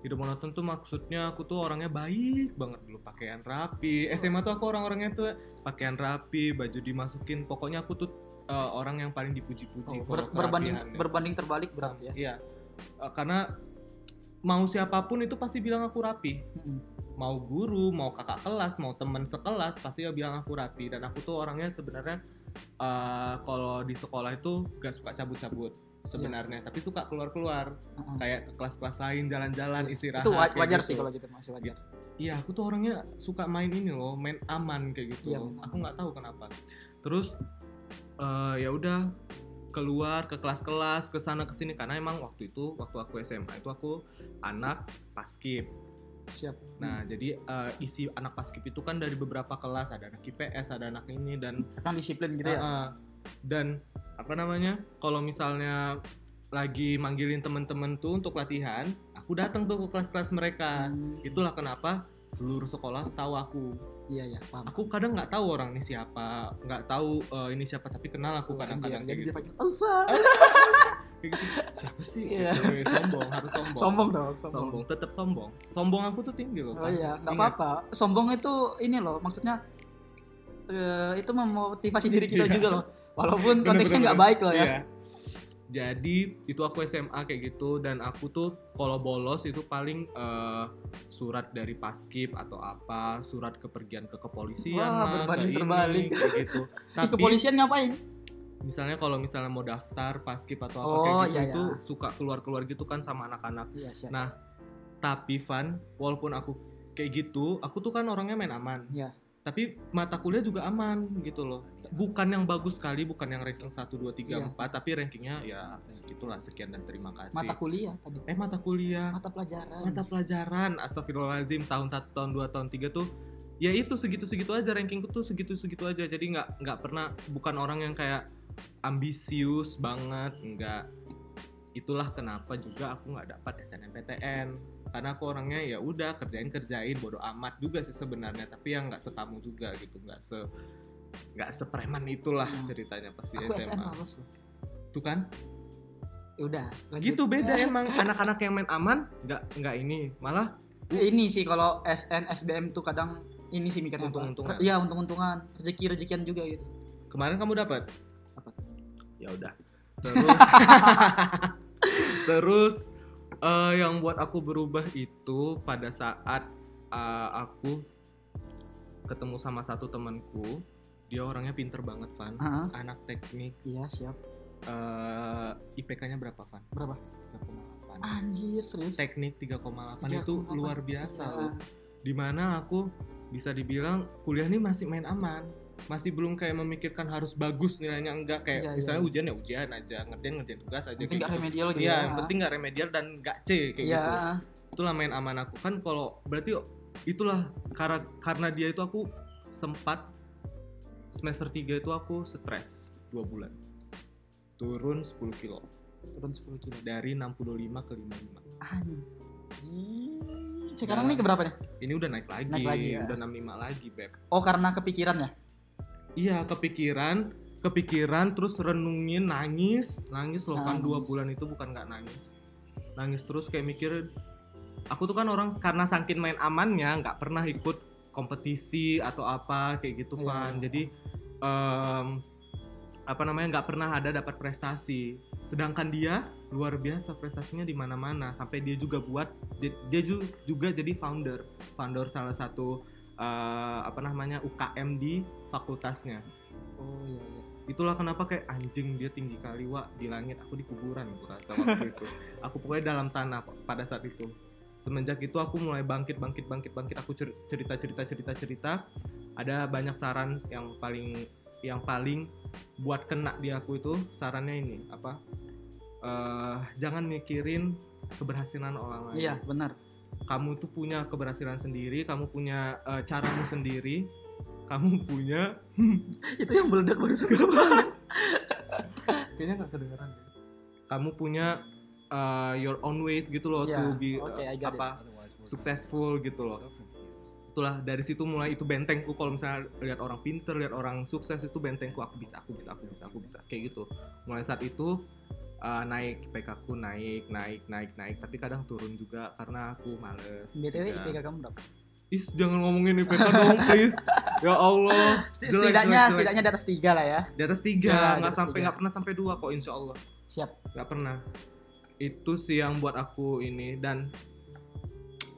S2: hidup monoton tuh maksudnya aku tuh orangnya baik banget dulu pakaian rapi
S1: Hmm.
S2: SMA tuh aku orang-orangnya tuh pakaian rapi baju dimasukin pokoknya aku tuh eh, orang yang paling
S1: Oh,
S2: dipuji-puji kalau ya.
S1: ber- berbanding
S2: kerapiannya.
S1: berbanding terbalik berarti ya
S2: Iya. Eh, karena mau siapapun itu pasti bilang aku rapi.
S1: Mm-mm.
S2: Mau guru, mau kakak kelas, mau teman sekelas pasti dia bilang aku rapi. Dan aku tuh orangnya sebenarnya eh, kalau di sekolah itu gak suka cabut-cabut sebenarnya, tapi suka keluar-keluar
S1: Mm-mm.
S2: kayak ke kelas-kelas lain jalan-jalan istirahat.
S1: hmm. itu wa-
S2: kayak
S1: wajar
S2: gitu.
S1: sih kalau gitu masih wajar
S2: Iya, aku tuh orangnya suka main ini loh, main aman kayak gitu.
S1: Iya,
S2: loh.
S1: main
S2: Aku nggak tahu kenapa. Terus eh, ya udah keluar ke kelas-kelas ke sana ke sini karena emang waktu itu waktu aku SMA itu aku anak paskib.
S1: siap
S2: Nah, jadi eh, isi anak paskib itu kan dari beberapa kelas, ada anak IPS, ada anak ini dan
S1: kan disiplin gitu ya
S2: Heeh. Dan apa namanya? Kalau misalnya lagi manggilin temen-temen tuh untuk latihan, aku datang tuh ke kelas-kelas mereka.
S1: Hmm,
S2: Itulah kenapa seluruh sekolah tahu aku.
S1: iya ya paham
S2: Aku kadang nggak tahu orang ini siapa, nggak tahu eh, ini siapa tapi kenal aku
S1: Anjir,
S2: kadang-kadang
S1: Oh, jadi
S2: kayak gitu.
S1: dia panggil Alfa
S2: Kayak gitu. Siapa sih?
S1: Iya.
S2: Gitu, sombong, harus sombong.
S1: sombong dong sombong
S2: Sombong, tetap sombong. Sombong aku tuh tinggi loh.
S1: Oh
S2: Pak.
S1: iya, nggak
S2: Ingat.
S1: apa-apa. Sombong itu ini loh, maksudnya eh, itu memotivasi diri kita
S2: Iya.
S1: juga loh. Walaupun
S2: Bener,
S1: konteksnya
S2: bener,
S1: nggak
S2: bener.
S1: baik loh ya.
S2: Iya. Jadi itu aku SMA kayak gitu dan aku tuh kalau bolos itu paling eh, surat dari paskib atau apa, surat kepergian ke kepolisian
S1: Wah,
S2: lah, ke
S1: berbanding
S2: ini,
S1: terbalik.
S2: kayak gitu.
S1: Di kepolisian ngapain?
S2: misalnya kalau misalnya mau daftar paskib atau apa
S1: Oh,
S2: kayak gitu
S1: iya, iya.
S2: itu suka keluar-keluar gitu kan sama anak-anak.
S1: Iya, siap.
S2: Nah, Tapi Van, walaupun aku kayak gitu, aku tuh kan orangnya main aman.
S1: Iya.
S2: Tapi mata kuliah juga aman gitu loh. Bukan yang bagus sekali, bukan yang ranking 1 2 3
S1: Iya.
S2: 4, tapi rankingnya ya segitulah sekian dan terima kasih.
S1: mata kuliah tadi.
S2: eh mata kuliah,
S1: Mata pelajaran.
S2: mata pelajaran, astagfirullahalazim tahun 1 tahun 2 tahun 3 tuh ya itu segitu-segitu aja rankingku tuh segitu-segitu aja. Jadi nggak nggak pernah bukan orang yang kayak ambisius banget, enggak. Itulah kenapa juga aku nggak dapat SNMPTN karena aku orangnya ya udah kerjain kerjain bodo amat juga sih sebenarnya tapi yang nggak sekamu juga gitu nggak se nggak sepreman itulah
S1: Hmm.
S2: ceritanya pasti
S1: Aku
S2: SMA
S1: SM lolos loh.
S2: tuh kan
S1: Ya udah, lanjut.
S2: gitu beda emang anak-anak yang main aman nggak nggak ini malah
S1: Eh, Ini sih kalau SN SBM tuh kadang ini sih mikirnya apa?
S2: Untung-untungan.
S1: Iya, untung-untungan. Rezeki-rezekian juga gitu.
S2: kemarin kamu dapat
S1: Dapat.
S2: ya udah terus terus eh, yang buat aku berubah itu pada saat eh, aku ketemu sama satu temanku dia orangnya pinter banget Van
S1: Heeh.
S2: anak teknik
S1: Iya, siap.
S2: eh IPK-nya berapa, Van?
S1: Berapa?
S2: 3,8.
S1: Anjir, serius.
S2: Teknik 3,8 itu
S1: 3,8.
S2: luar biasa
S1: Iya.
S2: loh. Dimana aku bisa dibilang kuliah ini masih main aman. Masih belum kayak memikirkan harus bagus nilainya enggak kayak
S1: Iya, iya.
S2: misalnya ujian ya ujian aja, ngerjain ngerjain tugas aja
S1: Yang penting
S2: kayak
S1: nggak
S2: gitu.
S1: remedial gitu.
S2: Iya, yang penting nggak remedial dan nggak C kayak
S1: Iya.
S2: gitu. Itulah main aman aku kan kalau berarti itulah karena karena dia itu aku sempat semester 3 itu aku stres dua bulan. turun 10 kilo
S1: turun 10 kilo
S2: dari 65 ke 55
S1: anjing sekarang
S2: Nah.
S1: nih keberapa nih
S2: ini udah naik lagi,
S1: Naik lagi, ya.
S2: udah 65 lagi beb
S1: oh karena kepikiran ya
S2: iya kepikiran kepikiran terus renungin nangis nangis loh kan dua
S1: Nangis.
S2: bulan itu bukan nggak nangis nangis terus kayak mikir aku tuh kan orang karena saking main amannya nggak pernah ikut kompetisi atau apa kayak gitu
S1: Iya,
S2: kan
S1: iya.
S2: jadi em, apa namanya nggak pernah ada dapat prestasi sedangkan dia luar biasa prestasinya di mana-mana sampai dia juga buat dia, dia ju- juga jadi founder founder salah satu eh, apa namanya UKM di fakultasnya
S1: oh iya iya
S2: itulah kenapa kayak anjing dia tinggi kali wa di langit aku di kuburan aku rasa waktu itu aku pokoknya dalam tanah pa- pada saat itu semenjak itu aku mulai bangkit bangkit bangkit bangkit aku cer- cerita cerita cerita cerita ada banyak saran yang paling yang paling buat kena di aku itu sarannya ini apa Eh, jangan mikirin keberhasilan orang lain
S1: iya benar
S2: kamu tuh punya keberhasilan sendiri kamu punya eh, caramu sendiri kamu punya
S1: itu yang meledak barusan kenapa
S2: kayaknya nggak kedengeran deh. Kamu punya uh, your own ways gitu loh
S1: Iya,
S2: to be uh,
S1: oke, I got it.
S2: apa successful gitu loh. Itulah dari situ mulai itu bentengku kalau misalnya lihat orang pinter, lihat orang sukses itu bentengku aku bisa, aku bisa, aku bisa, aku bisa kayak gitu. Mulai saat itu uh, naik IPK ku naik, naik, naik, naik, tapi kadang turun juga karena aku males.
S1: btw
S2: juga.
S1: IPK kamu berapa
S2: Is jangan ngomongin IPK dong please. Ya Allah.
S1: Seti- setidaknya
S2: Jelek, jelek, jelek.
S1: setidaknya di atas tiga lah ya
S2: Di atas
S1: Ya, di
S2: tiga, nggak
S1: atas
S2: sampai
S1: tiga.
S2: nggak pernah sampai dua kok insya Allah.
S1: siap
S2: nggak pernah itu sih yang buat aku ini dan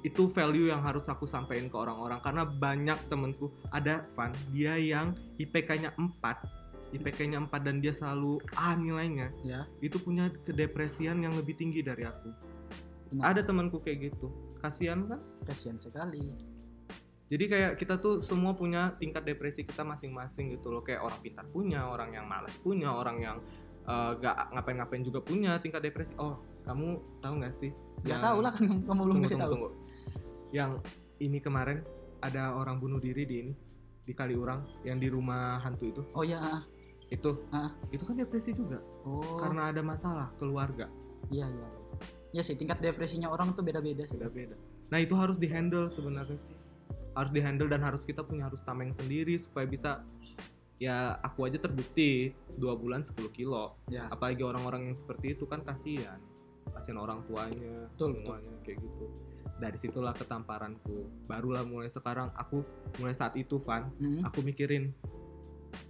S2: itu value yang harus aku sampaikan ke orang-orang karena banyak temenku ada Van dia yang IPK-nya 4 IPK-nya 4 dan dia selalu ah nilainya
S1: Ya.
S2: itu punya kedepresian yang lebih tinggi dari aku
S1: Benar.
S2: ada temanku kayak gitu kasihan kan
S1: kasihan sekali
S2: jadi kayak kita tuh semua punya tingkat depresi kita masing-masing gitu loh. Kayak orang pintar punya, orang yang malas punya, orang yang eh, gak ngapain-ngapain juga punya tingkat depresi. Oh, kamu tahu nggak sih?
S1: Gak
S2: yang-
S1: tahu lah kan kamu belum
S2: Iya. Tunggu,
S1: kasih
S2: tunggu,
S1: tahu.
S2: tunggu. Yang ini kemarin ada orang bunuh diri di ini di Kaliurang yang di rumah hantu itu.
S1: Oh ya.
S2: Itu
S1: Ah.
S2: itu kan depresi juga
S1: Oh.
S2: karena ada masalah keluarga.
S1: Iya iya. Ya sih tingkat depresinya orang tuh beda-beda sih.
S2: beda-beda. Nah itu harus dihandle sebenarnya sih, harus dihandle dan harus kita punya harus tameng sendiri supaya bisa ya aku aja terbukti dua bulan 10 kilo.
S1: Ya.
S2: Apalagi orang-orang yang seperti itu kan kasihan, kasihan orang tuanya,
S1: Betul,
S2: semuanya kayak gitu. Dari situlah ketamparanku. Barulah mulai sekarang aku mulai saat itu Van,
S1: Hmm.
S2: aku mikirin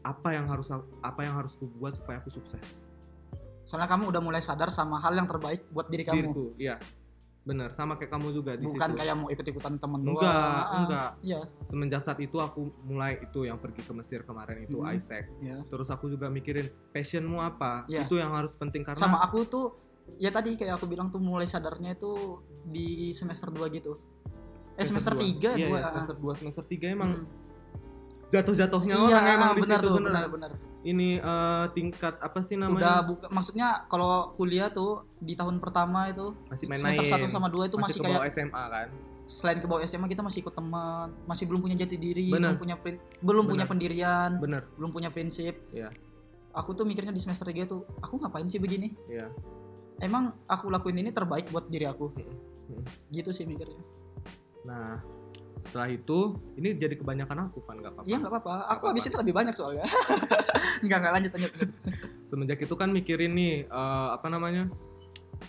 S2: apa yang harus apa yang harus aku buat supaya aku sukses.
S1: Soalnya kamu udah mulai sadar sama hal yang terbaik buat diri kamu.
S2: Diriku, iya. Bener, sama kayak kamu juga di
S1: Bukan
S2: situ.
S1: kayak mau ikut-ikutan temen doang.
S2: enggak,
S1: Ah,
S2: enggak.
S1: Iya.
S2: semenjak saat itu aku mulai itu yang pergi ke Mesir kemarin itu
S1: Mhm.
S2: Isaac.
S1: Iya.
S2: Terus aku juga mikirin passionmu apa?
S1: Iya.
S2: Itu yang harus penting karena
S1: Sama aku tuh ya tadi kayak aku bilang tuh mulai sadarnya itu di semester 2 gitu. Eh semester
S2: dua.
S1: 3
S2: Iya,
S1: gua.
S2: iya, semester 2, semester 3 emang
S1: Hmm.
S2: jatuh-jatuhnya
S1: iya,
S2: orang emang di
S1: benar
S2: situ
S1: tuh,
S2: bener.
S1: benar benar.
S2: Ini eh, tingkat apa sih
S1: Udah
S2: namanya?
S1: buka maksudnya kalau kuliah tuh di tahun pertama itu
S2: masih main-main.
S1: semester 1 sama 2 itu masih
S2: masih, ke
S1: kayak
S2: bawah SMA kan.
S1: selain ke bawah SMA kita masih ikut teman, masih belum punya jati diri,
S2: Bener.
S1: belum punya prin- belum
S2: Bener.
S1: punya pendirian,
S2: Bener.
S1: belum punya prinsip.
S2: Iya.
S1: Aku tuh mikirnya di semester 3 tuh, aku ngapain sih begini?
S2: Iya. Hmm.
S1: Emang aku lakuin ini terbaik buat diri aku.
S2: Mm-mm. Mm-mm.
S1: Gitu sih mikirnya.
S2: Nah, setelah itu ini jadi kebanyakan aku kan nggak apa-apa.
S1: Iya nggak apa-apa. Aku
S2: apa-apa.
S1: habis itu lebih banyak soalnya. Enggak enggak lanjut lanjut. lanjut.
S2: semenjak itu kan mikirin nih eh, apa namanya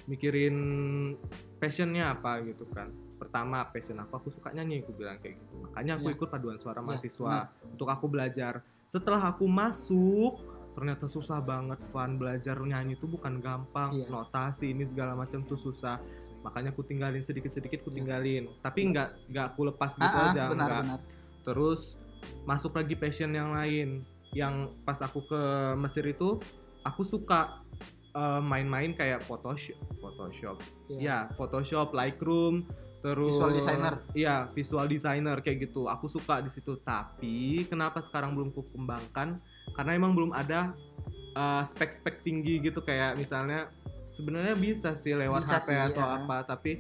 S2: mikirin passionnya apa gitu kan pertama passion aku aku suka nyanyi aku bilang kayak gitu makanya aku
S1: Iya.
S2: ikut paduan suara
S1: Iya,
S2: mahasiswa untuk aku belajar setelah aku masuk ternyata susah banget Van belajar nyanyi itu bukan gampang
S1: Iya.
S2: notasi ini segala macam tuh susah makanya aku tinggalin sedikit sedikit aku
S1: Iya.
S2: tinggalin tapi nggak nggak aku lepas gitu
S1: Ah, ah,
S2: aja
S1: benar
S2: nggak
S1: benar.
S2: terus masuk lagi passion yang lain yang pas aku ke Mesir itu aku suka eh, main-main kayak Photoshop Photoshop
S1: Iya.
S2: ya Photoshop Lightroom terus
S1: Visual designer.
S2: iya visual designer kayak gitu aku suka di situ tapi kenapa sekarang belum ku kembangkan karena emang belum ada eh, spek-spek tinggi gitu kayak misalnya sebenarnya bisa sih lewat
S1: Bisa
S2: HP
S1: sih,
S2: atau
S1: iya.
S2: apa tapi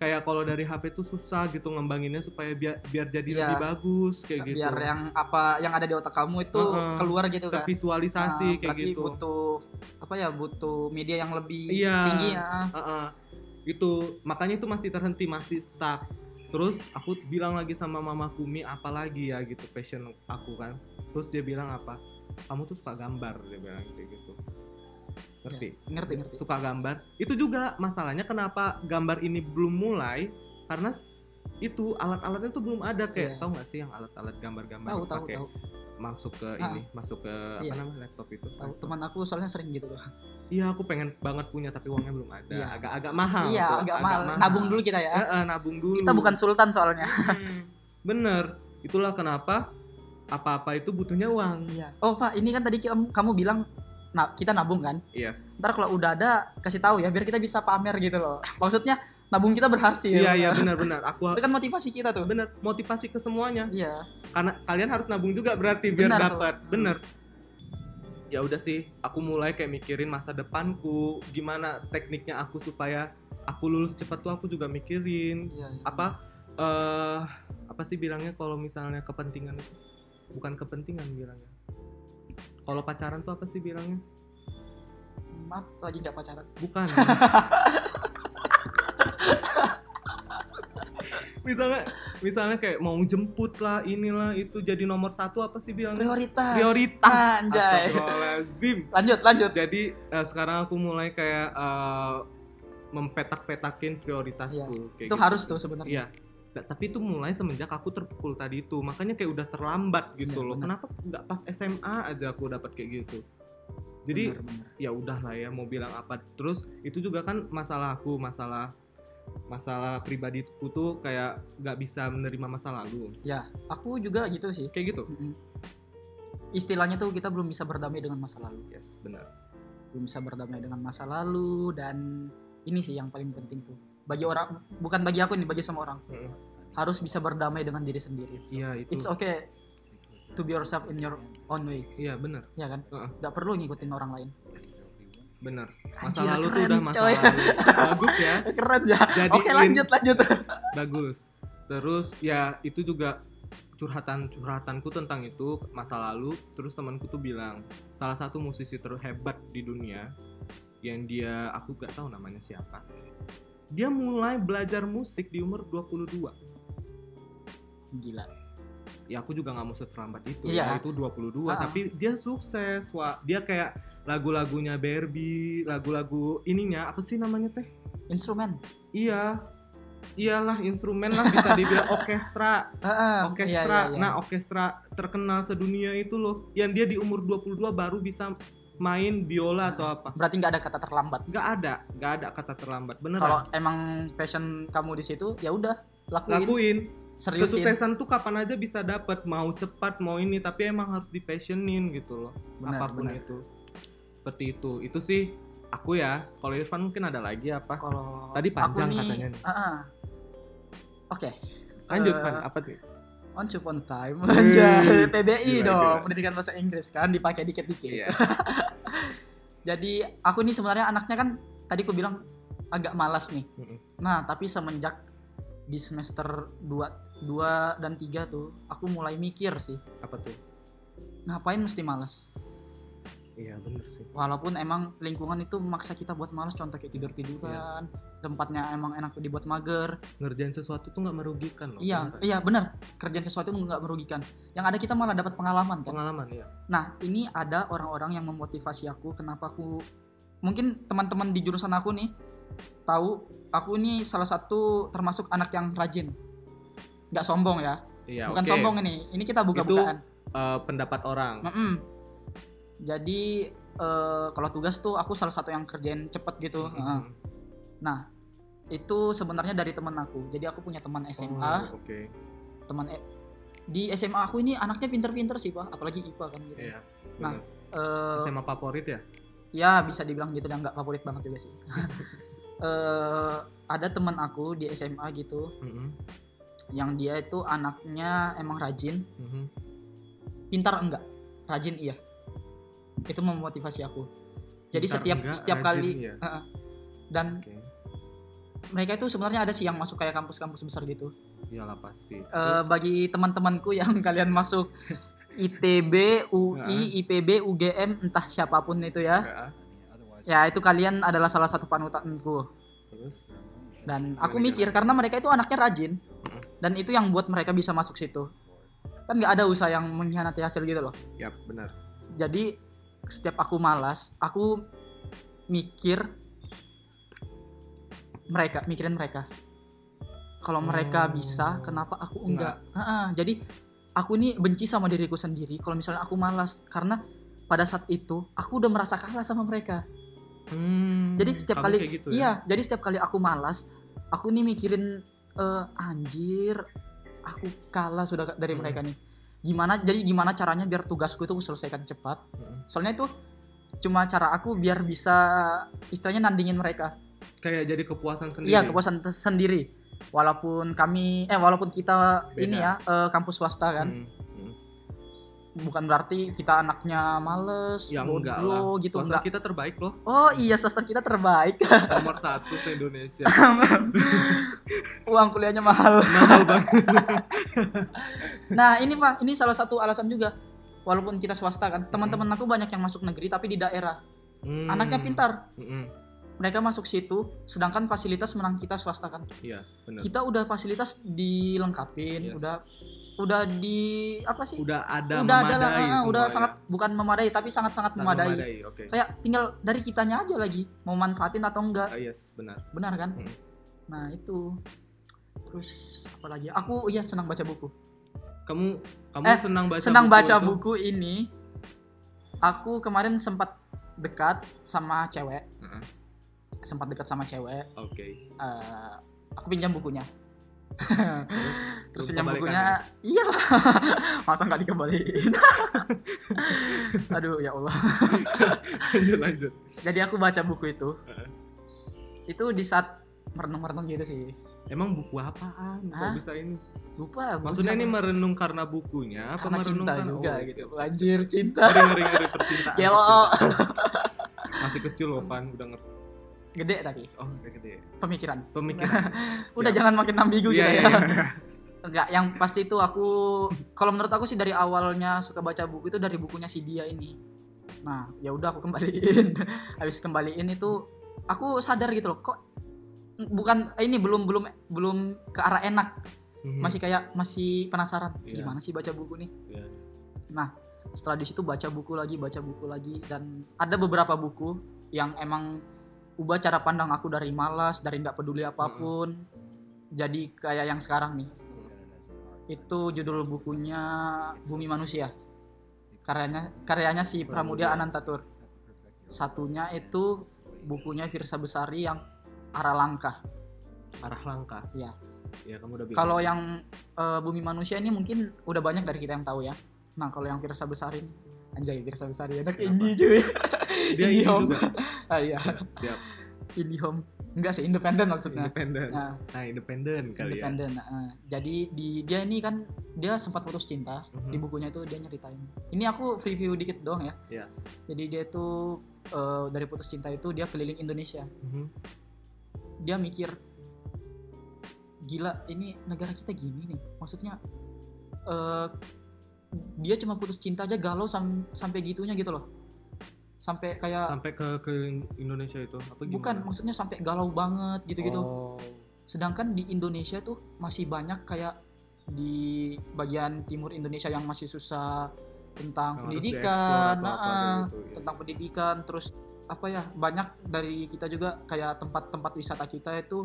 S2: kayak kalau dari HP tuh susah gitu ngembanginnya supaya biar biar jadi
S1: Iya.
S2: lebih bagus kayak gitu
S1: Biar yang apa yang ada di otak kamu itu
S2: Heeh.
S1: keluar gitu kan.
S2: tervisualisasi
S1: Nah,
S2: kayak
S1: berarti
S2: gitu
S1: butuh apa apa ya butuh media yang lebih
S2: Iya.
S1: tinggi ya.
S2: Heeh. Gitu. Makanya itu masih terhenti, masih stuck. Terus aku bilang lagi sama mama Kumi apalagi ya gitu passion aku kan. Terus dia bilang apa? Kamu tuh suka gambar dia bilang kayak gitu. Ngerti?
S1: Ngerti Ya, ngerti.
S2: Suka gambar. Itu juga masalahnya kenapa gambar ini belum mulai karena s- itu alat-alatnya tuh belum ada
S1: Iya.
S2: kayak tahu nggak sih yang alat-alat gambar-gambar
S1: Tahu
S2: yang
S1: tahu
S2: pakai
S1: tahu.
S2: masuk ke
S1: Ah.
S2: ini masuk ke
S1: Iya.
S2: apa namanya laptop itu
S1: Tahu teman aku soalnya sering gitu loh.
S2: Iya, aku pengen banget punya tapi uangnya belum ada.
S1: Iya.
S2: Agak-agak mahal. tuh,
S1: iya, agak mahal. Nabung dulu kita ya.
S2: Eh, eh, nabung dulu.
S1: Kita bukan sultan soalnya.
S2: Hmm, Bener. Itulah kenapa apa-apa itu butuhnya uang.
S1: Iya. Oh, Pak, ini kan tadi kamu, kamu bilang na- kita nabung kan?
S2: Yes.
S1: Ntar kalau udah ada kasih tahu ya biar kita bisa pamer gitu loh. Maksudnya nabung kita berhasil.
S2: Iya, iya benar-benar. Aku
S1: Itu kan motivasi kita tuh.
S2: bener motivasi ke semuanya.
S1: Iya.
S2: Karena kalian harus nabung juga berarti biar
S1: Benar tuh.
S2: dapat. Bener. Ya udah sih, aku mulai kayak mikirin masa depanku, gimana tekniknya aku supaya aku lulus cepat tuh aku juga mikirin.
S1: Iya. iya.
S2: apa eh apa sih bilangnya kalau misalnya kepentingan itu bukan kepentingan bilangnya kalau pacaran tuh apa sih bilangnya
S1: Maaf, lagi nggak pacaran.
S2: bukan misalnya misalnya kayak mau jemput lah inilah itu jadi nomor satu apa sih bilangnya
S1: Prioritas.
S2: Prioritas.
S1: Anjay.
S2: Astagfirullahaladzim
S1: Lanjut, lanjut.
S2: jadi eh, sekarang aku mulai kayak eh, mempetak-petakin prioritasku kayak
S1: Iya. Itu
S2: gitu.
S1: harus tuh sebenarnya.
S2: Iya. Nah, tapi itu mulai semenjak aku terpukul tadi itu. Makanya kayak udah terlambat gitu
S1: Iya,
S2: loh.
S1: benar.
S2: Kenapa nggak pas SMA aja aku dapat kayak gitu. Jadi
S1: Benar, benar.
S2: ya udahlah ya mau bilang apa. Terus itu juga kan masalah aku, masalah masalah pribadiku tuh kayak nggak bisa menerima masa lalu.
S1: aku juga gitu sih.
S2: Kayak gitu.
S1: Mm-mm. Istilahnya tuh kita belum bisa berdamai dengan masa lalu.
S2: Yes, benar.
S1: belum bisa berdamai dengan masa lalu dan ini sih yang paling penting tuh bagi orang bukan bagi aku nih bagi semua orang
S2: Mm.
S1: harus bisa berdamai dengan diri sendiri
S2: Iya, itu.
S1: it's okay to be yourself in your own way
S2: Iya, benar.
S1: ya kan
S2: Heeh.
S1: nggak perlu ngikutin orang lain
S2: Yes. Benar. Masa
S1: Anjir,
S2: lalu tuh
S1: keren,
S2: udah masa
S1: coy.
S2: lalu. Bagus ya.
S1: keren ya
S2: Jadi
S1: oke lanjut lanjut
S2: bagus terus ya itu juga curhatan curhatanku tentang itu masa lalu terus temanku tuh bilang salah satu musisi terhebat di dunia yang dia aku gak tahu namanya siapa dia mulai belajar musik di umur 22
S1: gila
S2: ya aku juga nggak mau seterlambat itu
S1: Iya.
S2: ya itu 22
S1: Ah.
S2: tapi dia sukses wah dia kayak lagu-lagunya Barbie lagu-lagu ininya apa sih namanya teh
S1: instrumen
S2: iya iyalah instrumen lah bisa dibilang orkestra
S1: Heeh, iya,
S2: orkestra.
S1: iya, iya.
S2: Nah, orkestra terkenal sedunia itu loh. Yang dia di umur 22 baru bisa main biola atau apa.
S1: berarti nggak ada kata terlambat
S2: Gak ada, gak ada kata terlambat.
S1: kalau
S2: Beneran.
S1: emang passion kamu di situ ya udah lakuin
S2: Lakuin.
S1: seriusin
S2: Kesuksesan tuh kapan aja bisa dapat, mau cepat, mau ini, tapi emang harus dipassionin gitu loh.
S1: Benar,
S2: Apapun
S1: benar.
S2: itu. Seperti itu. Itu sih aku ya. Kalau Irfan mungkin ada lagi apa?
S1: kalau
S2: Tadi panjang
S1: aku nih,
S2: katanya nih.
S1: heeh. oke
S2: Lanjut,
S1: Eh,
S2: Fan. Apa nih?
S1: Once upon a time
S2: Wih,
S1: Anjay PBI
S2: gila,
S1: dong
S2: gila.
S1: Pendidikan bahasa Inggris kan Dipakai dikit-dikit
S2: Iya.
S1: Jadi aku ini sebenarnya anaknya kan Tadi aku bilang Agak malas nih
S2: Mm-mm.
S1: Nah tapi semenjak Di semester 2 2 dan 3 tuh Aku mulai mikir sih
S2: Apa tuh?
S1: Ngapain mesti malas
S2: Iya, bener sih.
S1: Walaupun emang lingkungan itu memaksa kita buat malas Contoh kayak tidur-tiduran
S2: Iya.
S1: Tempatnya emang enak dibuat mager
S2: Ngerjain sesuatu tuh nggak merugikan loh.
S1: Iya
S2: beneran.
S1: iya benar Kerjaan sesuatu nggak merugikan Yang ada kita malah dapat pengalaman kan
S2: Pengalaman ya.
S1: Nah, ini ada orang-orang yang memotivasi aku kenapa aku mungkin teman-teman di jurusan aku nih tahu aku ini salah satu termasuk anak yang rajin. Nggak sombong ya.
S2: Iya,
S1: Bukan
S2: oke.
S1: sombong ini. Ini kita buka-bukaan.
S2: Eh, pendapat orang.
S1: Mm-mm. Jadi eh, kalau tugas tuh aku salah satu yang kerjain cepet gitu. Heeh.
S2: Mm-mm.
S1: Itu sebenarnya dari teman aku. Jadi aku punya teman SMA,
S2: Oh, Oke.
S1: teman E- di SMA aku ini anaknya pinter-pinter sih, Pak. Apalagi IPA kan gitu.
S2: Iya.
S1: Nah,
S2: Nah,
S1: Eh,
S2: SMA favorit ya?
S1: ya bisa dibilang gitu dan nggak favorit banget juga sih eh ada teman aku di SMA gitu
S2: Mm-mm.
S1: yang dia itu anaknya emang rajin
S2: Mhm.
S1: pintar enggak rajin iya itu memotivasi aku jadi
S2: Bentar,
S1: setiap
S2: enggak,
S1: setiap
S2: rajin,
S1: kali
S2: iya.
S1: eh, eh. dan
S2: Oke.
S1: mereka itu sebenarnya ada sih yang masuk kayak kampus-kampus besar gitu
S2: Iyalah pasti.
S1: Eh, bagi teman-temanku yang kalian masuk ITB, UI, IPB, UGM, entah siapapun itu ya.
S2: Terus, eh,
S1: Ya itu kalian adalah salah satu panutanku.
S2: Terus
S1: Dan aku mikir karena mereka itu anaknya rajin. Dan itu yang buat mereka bisa masuk situ. Kan nggak ada usaha yang mengkhianati hasil gitu loh.
S2: ya benar.
S1: Jadi setiap aku malas, aku mikir mereka, mikirin mereka. Kalau mereka
S2: Oh.
S1: bisa, kenapa aku enggak? Heeh, jadi aku ini benci sama diriku sendiri kalau misalnya aku malas karena pada saat itu aku udah merasa kalah sama mereka.
S2: Hmm,
S1: Jadi setiap
S2: kamu
S1: kali
S2: kayak gitu
S1: Iya, jadi setiap kali aku malas, aku nih mikirin eh, anjir, aku kalah sudah dari
S2: Hmm.
S1: mereka nih. Gimana jadi gimana caranya biar tugasku itu aku selesaikan cepat?
S2: Hmm.
S1: Soalnya itu cuma cara aku biar bisa istilahnya nandingin mereka.
S2: kayak jadi kepuasan sendiri.
S1: Iya, kepuasan te- sendiri. Walaupun kami eh walaupun kita
S2: Beda.
S1: ini ya eh, kampus swasta kan,
S2: Hmm, hmm.
S1: bukan berarti kita anaknya males,
S2: Yang
S1: bodoh,
S2: Hmm. Ya, enggak lah.
S1: gitu
S2: Swasta
S1: enggak.
S2: kita terbaik loh,
S1: Oh iya, swasta kita terbaik.
S2: nomor satu se Indonesia.
S1: Uang kuliahnya mahal.
S2: Mahal banget.
S1: Nah ini pak, ini salah satu alasan juga. Walaupun kita swasta kan, teman-teman aku banyak yang masuk negeri tapi di daerah.
S2: Hmm.
S1: Anaknya pintar,
S2: Mm-mm.
S1: mereka masuk situ, sedangkan fasilitas menang kita swasta kan.
S2: Iya, benar.
S1: Kita udah fasilitas dilengkapin,
S2: Yes.
S1: udah udah di apa sih?
S2: Udah ada
S1: Udah ada lah,
S2: memadai
S1: ah, udah
S2: semuanya.
S1: sangat bukan memadai tapi sangat-sangat
S2: Sangat
S1: memadai.
S2: Oke.
S1: Kayak tinggal dari kitanya aja lagi mau manfaatin atau enggak,
S2: Ah, yes, benar.
S1: benar kan?
S2: Mm.
S1: Nah itu. Terus apa lagi? Aku iya senang baca buku.
S2: Kamu kamu
S1: Eh,
S2: senang baca
S1: senang
S2: buku
S1: baca
S2: itu?
S1: buku ini aku kemarin sempat dekat sama cewek
S2: Heeh.
S1: sempat dekat sama cewek
S2: Oke.
S1: eh, aku pinjam bukunya terus
S2: Lu
S1: pinjam
S2: kebalikan
S1: bukunya iyalah masa nggak dikembaliin aduh ya allah
S2: lanjut lanjut.
S1: jadi aku baca buku itu itu di saat merenung-merenung gitu sih
S2: Emang buku apaan?
S1: Hah?
S2: Kok bisa ini?
S1: lupa bukunya
S2: Maksudnya ini
S1: apa.
S2: merenung karena bukunya apa
S1: karena
S2: merenung
S1: cinta
S2: karena-
S1: juga
S2: Oh,
S1: gitu
S2: siap.
S1: anjir cinta
S2: Ngeri ngeri ngeri percintaan.
S1: Gelo.
S2: percintaan. Masih kecil loh Van, udah ngerti.
S1: gede tapi
S2: Oh, udah gede.
S1: pemikiran
S2: Pemikiran.
S1: udah
S2: Siap.
S1: jangan makin ambigu
S2: Iya,
S1: gitu
S2: iya,
S1: Nah, ya
S2: iya.
S1: Enggak, yang pasti itu aku kalau menurut aku sih dari awalnya suka baca buku itu dari bukunya si dia ini. Nah, ya udah aku kembaliin. Habis kembaliin itu aku sadar gitu loh, kok bukan eh, ini belum belum belum ke arah enak.
S2: Mhm.
S1: Masih kayak masih penasaran
S2: Iya.
S1: gimana sih baca buku nih.
S2: Iya.
S1: Nah, setelah di situ baca buku lagi, baca buku lagi dan ada beberapa buku yang emang ubah cara pandang aku dari malas, dari nggak peduli apapun.
S2: Hmm.
S1: Jadi kayak yang sekarang nih itu judul bukunya Bumi Manusia karyanya karyanya si Pramudia Anantatur satunya itu bukunya Firsa Besari yang Arah Langkah
S2: arah langkah.
S1: Iya.
S2: Iya, kamu udah bilang.
S1: kalau yang eh, Bumi Manusia ini mungkin udah banyak dari kita yang tahu ya nah kalau yang Firsa Besari ini- anjay Firsa Besari anak
S2: Kenapa?
S1: indie cuy
S2: dia
S1: ini
S2: ini
S1: Om.
S2: juga.
S1: ah iya
S2: Siap.
S1: indie home enggak sih independen maksudnya
S2: Independen.
S1: nah
S2: Nah, independen kali ya.
S1: independen eh. jadi di dia ini kan dia sempat putus cinta
S2: Mhm.
S1: di bukunya itu dia nyeritain ini aku review dikit doang ya
S2: Iya.
S1: jadi dia tuh eh, dari putus cinta itu dia keliling Indonesia
S2: Mhm.
S1: dia mikir gila ini negara kita gini nih maksudnya eh, dia cuma putus cinta aja galau sam- sampai gitunya gitu loh sampai kayak
S2: Sampai ke ke Indonesia itu apa gimana?
S1: bukan gitu. maksudnya sampai galau banget gitu-gitu
S2: Oh.
S1: sedangkan di Indonesia tuh masih banyak kayak di bagian timur Indonesia yang masih susah tentang
S2: Yang harus dieksplor
S1: pendidikan
S2: atau apa
S1: nah,
S2: kayak gitu, iya.
S1: tentang pendidikan terus apa ya banyak dari kita juga kayak tempat-tempat wisata kita itu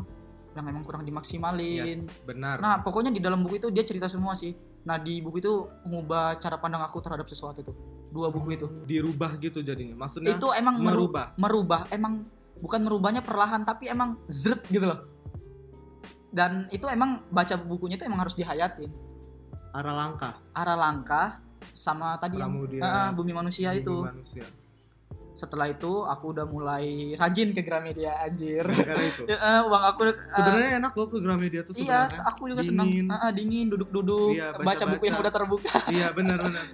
S1: yang memang kurang dimaksimalin
S2: Yes, benar.
S1: nah pokoknya di dalam buku itu dia cerita semua sih nah di buku itu mengubah cara pandang aku terhadap sesuatu tuh dua buku itu
S2: dirubah gitu jadinya. Maksudnya
S1: itu emang meru-
S2: merubah.
S1: merubah emang bukan merubahnya perlahan tapi emang zret gitu loh dan itu emang baca bukunya itu emang harus dihayatin
S2: arah langkah
S1: arah langkah sama tadi yang
S2: Pramudia.
S1: Ah, ah, bumi manusia
S2: bumi
S1: itu
S2: manusia.
S1: setelah itu aku udah mulai rajin ke Gramedia anjir
S2: Karena itu.
S1: Ya, eh, uang aku eh,
S2: Sebenarnya enak loh ke Gramedia tuh
S1: iya
S2: sebenarnya.
S1: aku juga senang
S2: Dingin.
S1: Ah, ah, dingin duduk-duduk
S2: Iya,
S1: baca, buku yang
S2: baca-baca.
S1: udah terbuka
S2: Iya, benar benar.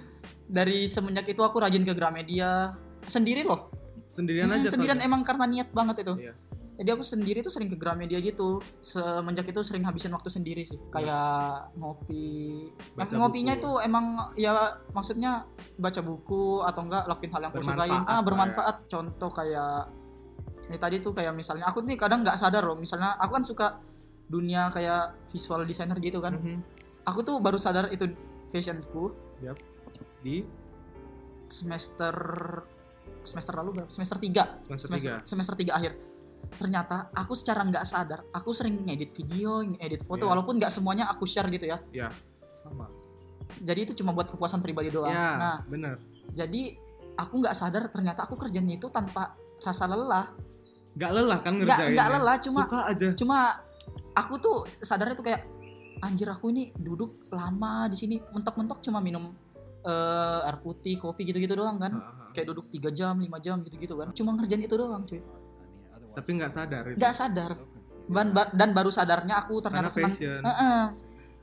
S1: dari semenjak itu aku rajin ke Gramedia sendiri loh
S2: Sendirian
S1: Hmm,
S2: aja.
S1: sendirian
S2: soalnya.
S1: emang karena niat banget itu.
S2: Iya.
S1: Jadi aku sendiri tuh sering ke Gramedia gitu. Semenjak itu sering habisin waktu sendiri sih. Kayak ngopi. Em,
S2: Iya. Baca
S1: ngopinya
S2: buku.
S1: itu emang ya maksudnya baca buku atau enggak lakuin hal yang aku sukain.
S2: Bermanfaat
S1: Ah,
S2: lah ya.
S1: bermanfaat. Contoh kayak Ini tadi tuh kayak misalnya aku nih kadang nggak sadar loh, misalnya aku kan suka dunia kayak visual designer gitu kan.
S2: Mhm.
S1: Aku tuh baru sadar itu fashionku
S2: Di
S1: semester semester lalu berapa? Semester 3.
S2: Semester tiga.
S1: semester 3 akhir. Ternyata aku secara nggak sadar, aku sering ngedit video, ngedit foto
S2: Yes.
S1: walaupun nggak semuanya aku share gitu ya.
S2: sama.
S1: Jadi itu cuma buat kepuasan pribadi doang.
S2: Ya,
S1: Nah,
S2: bener.
S1: jadi aku nggak sadar ternyata aku kerjanya itu tanpa rasa lelah.
S2: Gak lelah kan
S1: Nggak
S2: ngerjainnya.
S1: nggak lelah, cuma Mm.
S2: suka aja.
S1: cuma aku tuh sadarnya tuh kayak anjir aku ini duduk lama di sini mentok-mentok cuma minum eh, air putih kopi gitu-gitu doang kan
S2: Heeh.
S1: kayak duduk 3 jam 5 jam gitu-gitu kan cuma ngerjain itu doang cuy
S2: Tapi nggak sadar itu.
S1: nggak sadar dan, ba- dan baru sadarnya aku ternyata
S2: Karena
S1: senang Eh.
S2: passion.
S1: Heeh.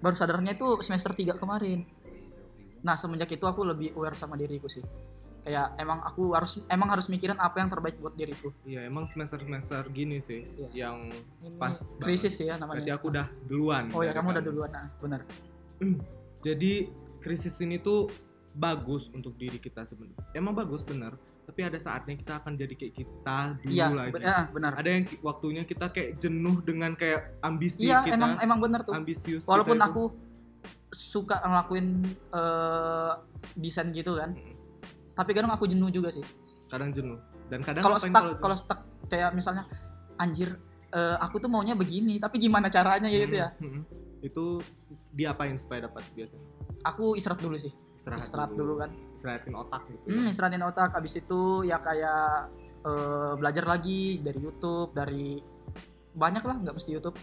S1: baru sadarnya itu semester 3 kemarin nah semenjak itu aku lebih aware sama diriku sih kayak emang aku harus emang harus mikirin apa yang terbaik buat diriku
S2: Iya, emang semester-semester gini sih
S1: Iya.
S2: yang
S1: ini
S2: Pas
S1: krisis sih ya
S2: berarti
S1: namanya
S2: aku udah kan? duluan.
S1: oh ya
S2: dari
S1: kamu udah duluan nah benar
S2: Jadi krisis ini tuh bagus untuk diri kita sebenarnya. Emang bagus bener, tapi ada saatnya kita akan jadi kayak kita dulu
S1: iya
S2: lagi.
S1: ben- eh, benar
S2: Ada yang ki- waktunya kita kayak jenuh dengan kayak ambisi
S1: Iya
S2: kita,
S1: emang emang bener tuh.
S2: ambisius. kita
S1: Walaupun
S2: itu.
S1: aku suka ngelakuin eh, desain gitu kan,
S2: Mm-mm.
S1: tapi kadang aku jenuh juga sih.
S2: kadang jenuh dan kadang
S1: Kalau
S2: Kan ngapain
S1: stuck kalau stuck kayak misalnya anjir eh, aku tuh maunya begini, tapi gimana caranya ya gitu ya?
S2: Mm, mm, mm. Itu diapain supaya dapat biasanya?
S1: Aku istirahat dulu sih,
S2: Istirahat,
S1: istirahat dulu kan.
S2: Istirahatin otak gitu.
S1: Hmm, istirahatin otak. Abis itu ya kayak eh, belajar lagi dari YouTube, dari banyak lah, nggak mesti YouTube.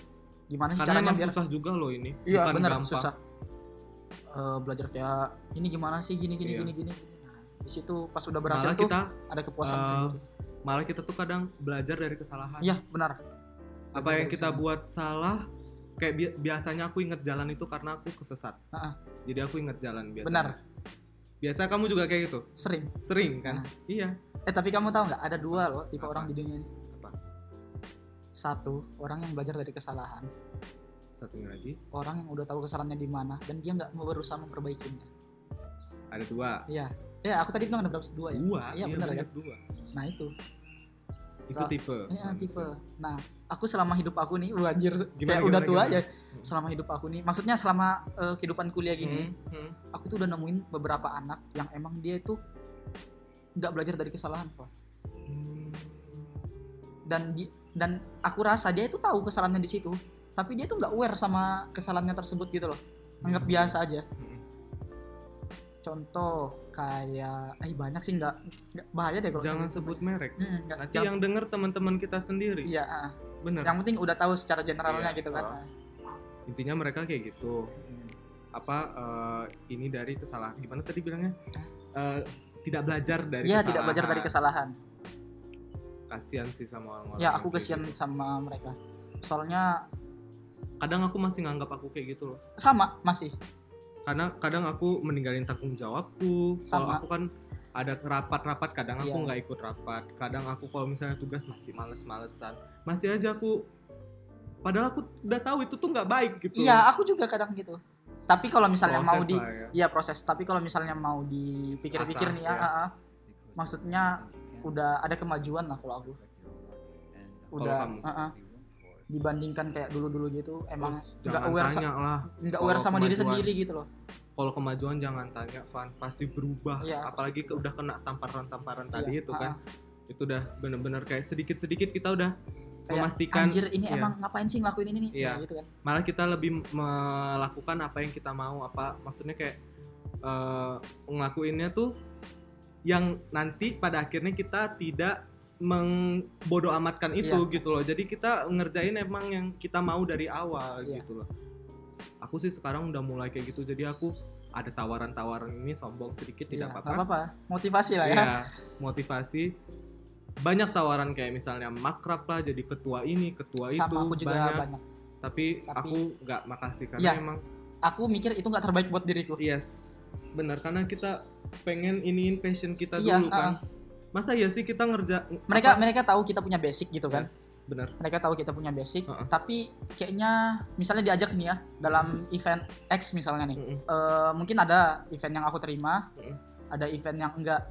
S1: Gimana sih
S2: Karena
S1: caranya
S2: emang
S1: biar
S2: susah juga loh ini.
S1: Iya
S2: Bukan
S1: benar
S2: gampang.
S1: susah. Eh, belajar kayak ini gimana sih gini gini
S2: Iya.
S1: gini gini. Nah, di situ pas udah berhasil
S2: Malah
S1: tuh
S2: kita
S1: ada kepuasan
S2: eh,
S1: sendiri.
S2: malah kita tuh kadang belajar dari kesalahan.
S1: Iya benar. Belajar
S2: apa yang
S1: dari
S2: kita
S1: sana.
S2: buat salah kayak bi- biasanya aku inget jalan itu karena aku kesesat
S1: Ah, ah.
S2: jadi aku inget jalan biasanya
S1: Benar.
S2: biasa kamu juga kayak gitu
S1: sering.
S2: sering kan
S1: Ah.
S2: iya
S1: Eh tapi kamu tahu nggak ada dua loh tipe
S2: Apa?
S1: orang di dunia ini.
S2: Apa?
S1: Satu orang yang belajar dari kesalahan,
S2: satunya lagi
S1: orang yang udah tahu kesalahannya di mana dan dia nggak mau berusaha memperbaikinya.
S2: ada dua
S1: Ya aku tadi bilang ada berapa dua ya.
S2: dua
S1: Iya, benar
S2: banyak dua
S1: Nah itu,
S2: itu
S1: Sa-
S2: tipe Hmm.
S1: ya, tipe. Nah aku selama hidup aku nih, wah, anjir
S2: Gimana,
S1: kayak udah
S2: gimana,
S1: tua
S2: gimana?
S1: ya. Selama hidup aku nih, maksudnya selama eh, kehidupan kuliah gini,
S2: Hmm, hmm.
S1: aku tuh udah nemuin beberapa anak yang emang dia itu nggak belajar dari kesalahan Pak.
S2: Hmm.
S1: dan di- dan aku rasa dia itu tahu kesalahannya di situ tapi dia tuh nggak aware sama kesalahannya tersebut gitu loh anggap biasa aja
S2: Hmm.
S1: contoh kayak eh banyak sih nggak nggak bahaya deh kalau kayak
S2: jangan
S1: gitu.
S2: sebut merek
S1: Mm, nggak-
S2: nanti
S1: jangan-
S2: yang denger teman-teman kita sendiri
S1: iya ah.
S2: bener
S1: yang penting udah tahu secara generalnya
S2: Iya,
S1: gitu kan
S2: ah. intinya mereka kayak gitu
S1: Hmm.
S2: apa eh, ini dari kesalahan gimana tadi bilangnya Eh, tidak belajar dari
S1: Iya,
S2: kesalahan
S1: tidak belajar dari kesalahan
S2: kasihan sih sama
S1: ya
S2: orang-orang yang
S1: aku
S2: kayak
S1: kesian
S2: gitu.
S1: sama mereka soalnya
S2: kadang aku masih nganggap aku kayak gitu loh
S1: sama masih
S2: karena kadang aku meninggalin tanggung jawabku kalau
S1: Sama.
S2: aku kan ada rapat-rapat kadang aku
S1: Iya.
S2: nggak ikut rapat kadang aku kalau misalnya tugas masih males-malesan masih aja aku padahal aku udah tahu itu tuh nggak baik gitu
S1: iya aku juga kadang gitu tapi kalau misalnya mau
S2: Proses
S1: di
S2: lah ya.
S1: Iya proses, tapi kalau misalnya mau dipikir-pikir
S2: Asah,
S1: nih ya,
S2: ya.
S1: ah, ah, maksudnya udah ada kemajuan lah kalau aku.
S2: Kalau
S1: Udah
S2: kamu?
S1: ah, ah. dibandingkan kayak dulu-dulu gitu, emang
S2: Terus
S1: nggak
S2: jangan
S1: aware sa-
S2: tanya lah
S1: nggak
S2: kalau
S1: aware sama diri
S2: kemajuan.
S1: sendiri gitu loh.
S2: kalau kemajuan jangan tanya Van pasti berubah
S1: Iya,
S2: apalagi
S1: pasti
S2: ke- udah kena tamparan-tamparan tadi
S1: Iya,
S2: itu
S1: ah,
S2: kan itu udah bener-bener kayak sedikit-sedikit kita udah
S1: Kayak
S2: memastikan
S1: Anjir ini
S2: iya.
S1: emang ngapain sih ngelakuin ini nih?
S2: Iya.
S1: Nah, gitu kan.
S2: malah kita lebih melakukan apa yang kita mau apa maksudnya kayak eh ngelakuinnya tuh yang nanti pada akhirnya kita tidak mengbodoh amatkan itu
S1: Iya.
S2: gitu loh jadi kita ngerjain emang yang kita mau dari awal
S1: Iya.
S2: gitu loh aku sih sekarang udah mulai kayak gitu jadi aku ada tawaran-tawaran ini sombong sedikit
S1: Iya,
S2: tidak
S1: nggak
S2: apa-apa
S1: apa-apa. Motivasi lah ya.
S2: Iya, motivasi banyak tawaran kayak misalnya makrab lah jadi ketua ini ketua itu
S1: sama aku juga
S2: banyak
S1: banyak.
S2: tapi,
S1: Tapi-
S2: aku nggak makasih karena
S1: Iya.
S2: emang
S1: Aku mikir itu nggak terbaik buat diriku.
S2: yes benar karena kita pengen iniin passion kita
S1: Iya,
S2: dulu kan masa ya sih kita ngerja
S1: Mereka mereka tahu kita punya basic gitu kan.
S2: benar
S1: Mereka tahu kita punya basic,
S2: Ah, ah.
S1: tapi kayaknya misalnya diajak nih ya dalam event X misalnya nih. Eh, mungkin ada event yang aku terima,
S2: Mm.
S1: ada event yang enggak.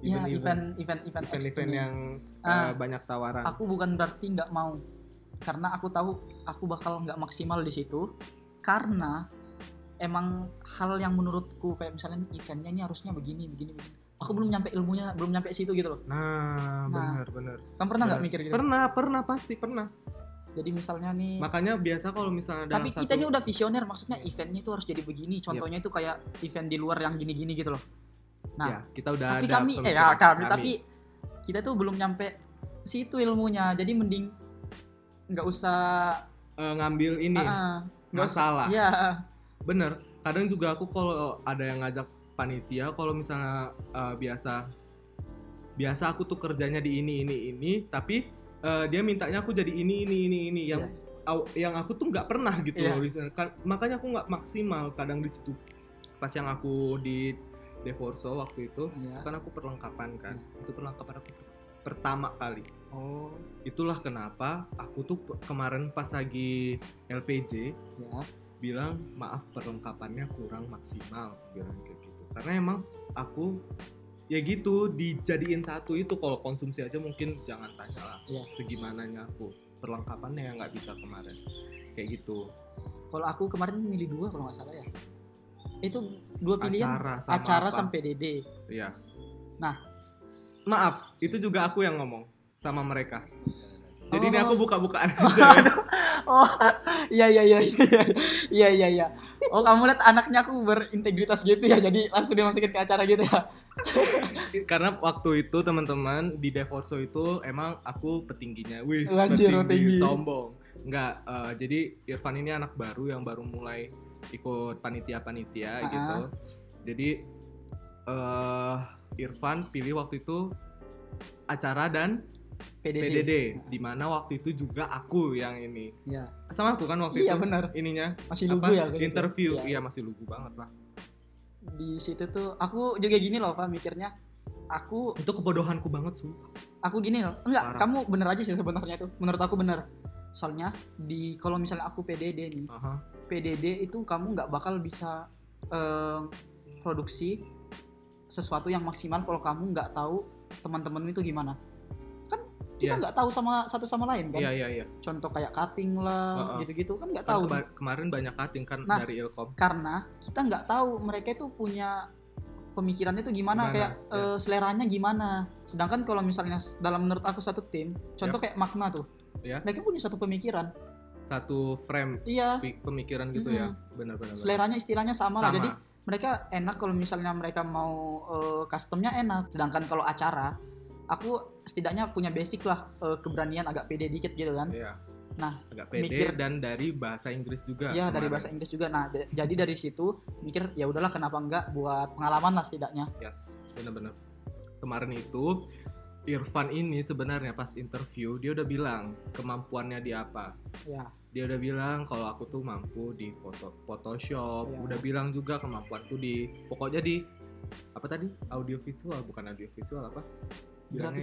S1: Iya, event event event X
S2: event-event
S1: ini.
S2: yang
S1: Ah.
S2: eh, banyak tawaran.
S1: Aku bukan berarti nggak mau, karena aku tahu aku bakal nggak maksimal di situ, karena emang hal yang menurutku kayak misalnya nih, eventnya ini harusnya begini begini begini. Aku belum nyampe ilmunya, belum nyampe situ gitu loh.
S2: Nah,
S1: Nah.
S2: benar benar.
S1: Kamu pernah nggak
S2: Benar.
S1: mikir gitu?
S2: Iya. Pernah, pernah pasti pernah.
S1: Jadi misalnya nih,
S2: Makanya biasa kalau misalnya
S1: Iya.
S2: dalam
S1: tapi
S2: satu
S1: kita ini udah visioner, maksudnya
S2: Iya.
S1: eventnya itu harus jadi begini. Contohnya itu kayak event di luar yang gini-gini gitu loh. Nah,
S2: Ya, kita udah
S1: tapi
S2: ada
S1: kami eh ya,
S2: pemikiran.
S1: kami, tapi kita tuh belum nyampe situ ilmunya jadi mending nggak usah
S2: Eh, ngambil ini
S1: ah, nggak usah
S2: masalah.
S1: ya
S2: Bener. Kadang juga aku kalau ada yang ngajak panitia kalau misalnya eh, biasa biasa aku tuh kerjanya di ini ini ini tapi eh, dia mintanya aku jadi ini ini ini ini yang aw- yang aku tuh nggak pernah gitu
S1: Iya.
S2: loh di sana. Kan- makanya aku nggak maksimal kadang di situ pas yang aku di Devorso waktu itu
S1: Iya.
S2: kan aku perlengkapan kan itu perlengkapan aku pertama kali oh itulah kenapa aku tuh pe- kemarin pas lagi LPJ
S1: ya
S2: bilang maaf perlengkapannya kurang maksimal bilang kayak gitu karena emang aku ya gitu dijadiin satu itu kalau konsumsi aja mungkin jangan tanya lah
S1: Iya.
S2: segimananya aku perlengkapannya yang nggak bisa kemarin kayak gitu
S1: kalau aku kemarin milih dua kalau nggak salah ya itu dua pilihan
S2: acara sama
S1: kan acara,
S2: apa?
S1: sampai dede
S2: Iya.
S1: Nah.
S2: maaf itu juga aku yang ngomong sama mereka jadi ini
S1: Oh.
S2: aku buka-bukaan aja
S1: Aduh. oh iya iya iya iya iya iya iya oh kamu lihat anaknya aku berintegritas gitu ya jadi langsung dimasukin ke acara gitu ya
S2: karena waktu itu teman-teman di Devorso itu emang aku petingginya wih
S1: Anjir, petinggi.
S2: petinggi, sombong nggak eh, jadi Irfan ini anak baru yang baru mulai ikut panitia-panitia
S1: Ah.
S2: gitu jadi eh Irfan pilih waktu itu acara dan
S1: PDD,
S2: PDD di mana waktu itu juga aku yang ini
S1: Iya.
S2: sama aku kan waktu
S1: iya
S2: itu
S1: benar
S2: ininya
S1: masih
S2: apa
S1: lugu ya aku gitu.
S2: interview
S1: Iya.
S2: iya masih lugu banget lah
S1: di situ tuh aku juga gini loh pak mikirnya aku
S2: itu kebodohanku banget su
S1: aku gini loh enggak
S2: Parah.
S1: kamu bener aja sih sebenarnya tuh menurut aku bener soalnya di kalau misalnya aku PDD nih
S2: Aha.
S1: PDD itu kamu nggak bakal bisa eh, produksi sesuatu yang maksimal kalau kamu nggak tahu teman-teman itu gimana kan kita
S2: Yes.
S1: nggak tahu sama satu sama lain kan
S2: iya iya iya
S1: contoh kayak cutting lah
S2: Uh-uh.
S1: gitu-gitu kan nggak
S2: Kan
S1: tahu
S2: kema- kemarin banyak cutting kan
S1: Nah.
S2: dari Ilkom
S1: karena kita nggak tahu mereka itu punya pemikirannya tuh gimana,
S2: Gimana,
S1: kayak
S2: ya.
S1: eh, seleranya gimana. Sedangkan kalau misalnya s- dalam menurut aku satu tim, contoh
S2: Iya.
S1: kayak makna tuh,
S2: Ya.
S1: mereka punya satu pemikiran,
S2: satu frame
S1: iya,
S2: pi- pemikiran gitu ya benar-benar
S1: seleranya istilahnya sama, lah.
S2: sama
S1: Jadi mereka enak kalau misalnya mereka mau eh, customnya enak. Sedangkan kalau acara, aku setidaknya punya basic lah eh, keberanian agak pede dikit gitu kan.
S2: Iya.
S1: Nah,
S2: agak pede
S1: mikir-
S2: dan dari bahasa Inggris juga
S1: Iya dari
S2: kemarin.
S1: bahasa Inggris juga. Nah, j- jadi dari situ mikir ya udahlah kenapa enggak buat pengalaman lah setidaknya.
S2: yes benar-benar kemarin itu Irfan ini sebenarnya pas interview dia udah bilang kemampuannya di apa
S1: Ya.
S2: dia udah bilang kalau aku tuh mampu di foto Photoshop,
S1: Iya.
S2: udah bilang juga kemampuanku di pokoknya di apa tadi audiovisual bukan audiovisual apa? Bilangnya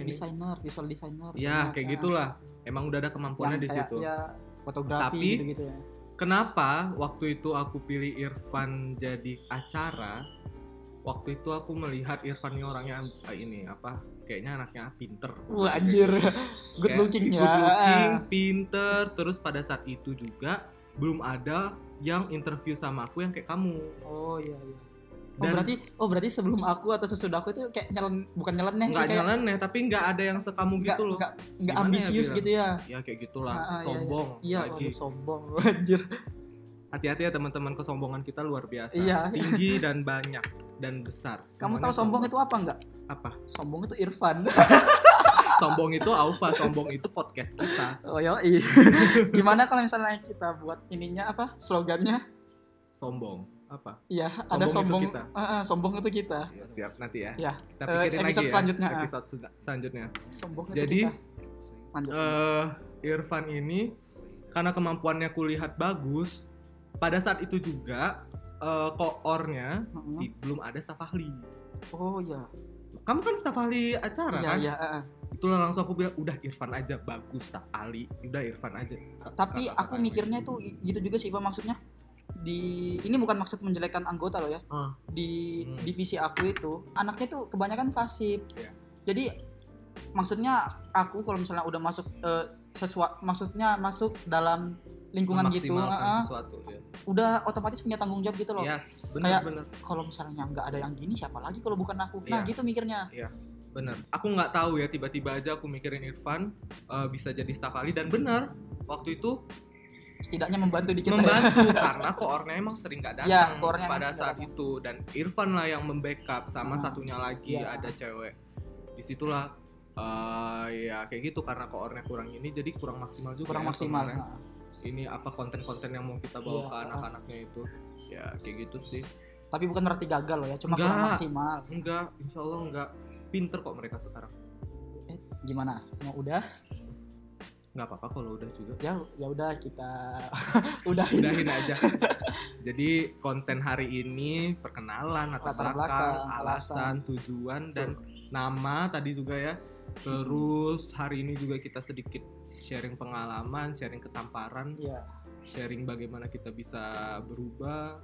S1: graphic
S2: ini.
S1: designer, visual designer.
S2: Ya
S1: banyak,
S2: kayak
S1: nah,
S2: gitulah. Emang udah ada
S1: Yang
S2: kemampuannya di
S1: kayak,
S2: situ.
S1: Ya, fotografi
S2: Tapi-
S1: gitu-gitu ya.
S2: Kenapa waktu itu aku pilih Irfan jadi acara? Waktu itu aku melihat Irfan ini orangnya eh, ini apa? Kayaknya anaknya pinter.
S1: Wah anjir, good
S2: Kayak
S1: looking ya.
S2: Good looking, pinter. Terus pada saat itu juga belum ada yang interview sama aku yang kayak kamu.
S1: Oh iya iya. Oh
S2: Dan-
S1: berarti oh berarti sebelum aku atau sesudah aku itu kayak nyelen bukan nyeleneh sih
S2: nggak
S1: kayak
S2: nyeleneh tapi nggak ada yang sekamu
S1: nggak-
S2: gitu loh
S1: nggak- nggak
S2: Gimana ya
S1: ambisius
S2: bilang?
S1: gitu ya.
S2: ya kayak gitulah
S1: Ah, ah, iya, iya.
S2: sombong
S1: Iya,
S2: lagi
S1: waduh sombong anjir.
S2: hati-hati ya teman-teman kesombongan kita luar biasa
S1: Iya.
S2: tinggi dan banyak dan besar
S1: Kamu tahu sombong itu apa nggak?
S2: apa
S1: Sombong itu Irfan.
S2: sombong itu apa sombong itu podcast kita
S1: Oh iya. Gimana kalau misalnya kita buat ininya apa? Slogannya?
S2: sombong apa
S1: Iya, ada
S2: Sombong itu
S1: sombong.
S2: kita.
S1: Ah, ah, sombong itu kita.
S2: siap nanti ya,
S1: Ya, eh,
S2: kita pikirin
S1: episode
S2: lagi ya
S1: selanjutnya, ah.
S2: episode sel- selanjutnya
S1: Sombong itu
S2: Jadi,
S1: kita. Lanjut.
S2: eh Irfan ini karena kemampuannya kulihat bagus pada saat itu juga eh, koornya
S1: Mm-mm.
S2: di- belum ada staf ahli
S1: Oh iya.
S2: kamu kan staf ahli acara
S1: Iya
S2: kan
S1: iya. ah, ah.
S2: itulah langsung aku bilang udah Irfan aja bagus tak Ali udah Irfan aja
S1: Tapi aku mikirnya itu gitu juga sih Pak maksudnya di ini bukan maksud menjelekan anggota loh ya
S2: Ah.
S1: di
S2: Hmm.
S1: divisi aku itu anaknya tuh kebanyakan pasif
S2: Iya.
S1: jadi maksudnya aku kalau misalnya udah masuk sesuatu maksudnya masuk dalam lingkungan gitu
S2: Memaksimalkan
S1: eh, eh,
S2: sesuatu Iya. ya.
S1: udah otomatis punya tanggung jawab gitu loh
S2: Yes,
S1: Kayak-
S2: bener-bener.
S1: kalau misalnya nggak ada yang gini siapa lagi kalau bukan aku nah
S2: Iya.
S1: gitu mikirnya
S2: bener aku nggak tahu ya tiba-tiba aja aku mikirin Irfan eh, bisa jadi staf ahli dan benar waktu itu
S1: setidaknya membantu dikit lah ya.
S2: membantu karena koornya emang sering nggak datang
S1: Ya, koornya emang
S2: pada
S1: sering
S2: saat
S1: nggak
S2: itu dan Irfan lah yang membackup sama
S1: Hmm.
S2: satunya lagi
S1: Iya.
S2: ada cewek disitulah eh, ya kayak gitu karena koornya kurang ini jadi kurang maksimal juga
S1: kurang
S2: ya
S1: maksimal
S2: sebenarnya.
S1: Nah,
S2: ini apa konten-konten yang mau kita bawa
S1: Iya.
S2: ke anak-anaknya itu ya kayak gitu sih
S1: tapi bukan berarti gagal loh ya cuma kurang
S2: Nggak.
S1: maksimal
S2: enggak insya Allah enggak pinter kok mereka sekarang
S1: gimana mau udah
S2: nggak apa-apa kalau udah juga
S1: ya ya udah kita udahin
S2: udahin aja. Jadi konten hari ini perkenalan, latar
S1: Latar
S2: belakang,
S1: belakang, alasan.
S2: alasan, tujuan dan nama tadi juga ya. Terus
S1: Hmm.
S2: hari ini juga kita sedikit sharing pengalaman, sharing ketamparan,
S1: ya
S2: sharing bagaimana kita bisa berubah.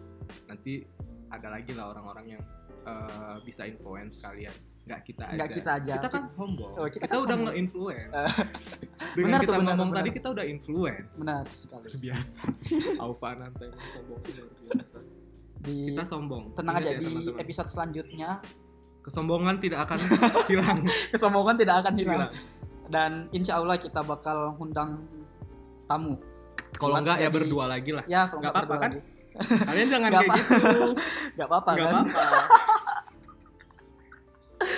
S2: Nanti ada lagi lah orang-orang yang eh, bisa influence kalian. Nggak kita aja.
S1: nggak kita aja
S2: Kita kan sombong.
S1: Oh,
S2: kita
S1: kita kan
S2: udah
S1: sombong.
S2: nge-influence.
S1: Eh.
S2: Dengan
S1: Benar
S2: kita
S1: tuh, benar,
S2: ngomong
S1: benar.
S2: tadi kita udah influence
S1: benar sekali
S2: biasa Aufa nanti emang sombong luar biasa
S1: di
S2: kita sombong
S1: tenang
S2: Ingat
S1: aja
S2: ya,
S1: di
S2: teman-teman.
S1: episode selanjutnya
S2: kesombongan tidak akan hilang
S1: kesombongan tidak akan hilang
S2: hilang
S1: dan insya Allah kita bakal undang tamu
S2: kalau
S1: Buat
S2: enggak ya
S1: jadi-
S2: berdua lagi lah
S1: ya kalau
S2: Nggak
S1: nggak berdua
S2: apa-apa kan?
S1: lagi.
S2: kalian jangan
S1: Nggak
S2: kayak
S1: apa-
S2: gitu
S1: nggak apa-apa
S2: nggak
S1: kan
S2: apa-apa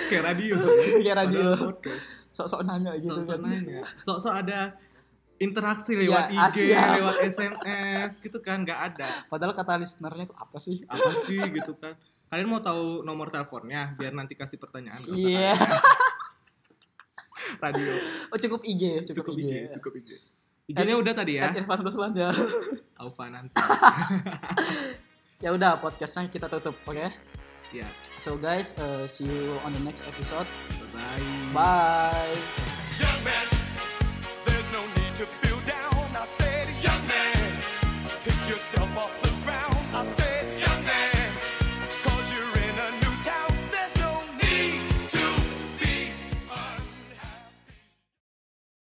S2: kayak radio
S1: ya radio
S2: Padahal podcast.
S1: sok-sok nanya gitu
S2: sok-sok
S1: kan
S2: nanya sok-sok ada interaksi
S1: Ya,
S2: lewat IG
S1: asyik.
S2: lewat SMS gitu kan nggak ada
S1: padahal kata listenernya itu apa sih
S2: apa sih gitu kan kalian mau tahu nomor teleponnya biar nanti kasih pertanyaan ke
S1: iya
S2: saya. radio
S1: oh cukup IG cukup, Eh,
S2: cukup
S1: IG,
S2: IG, cukup IG. IG-nya udah tadi ya.
S1: At Irfan Ruslan ya
S2: Aufa nanti.
S1: ya udah podcastnya kita tutup oke
S2: Ya,
S1: so guys uh, see you on the next episode
S2: bye bye.
S1: bye
S3: Young man, there's no need to be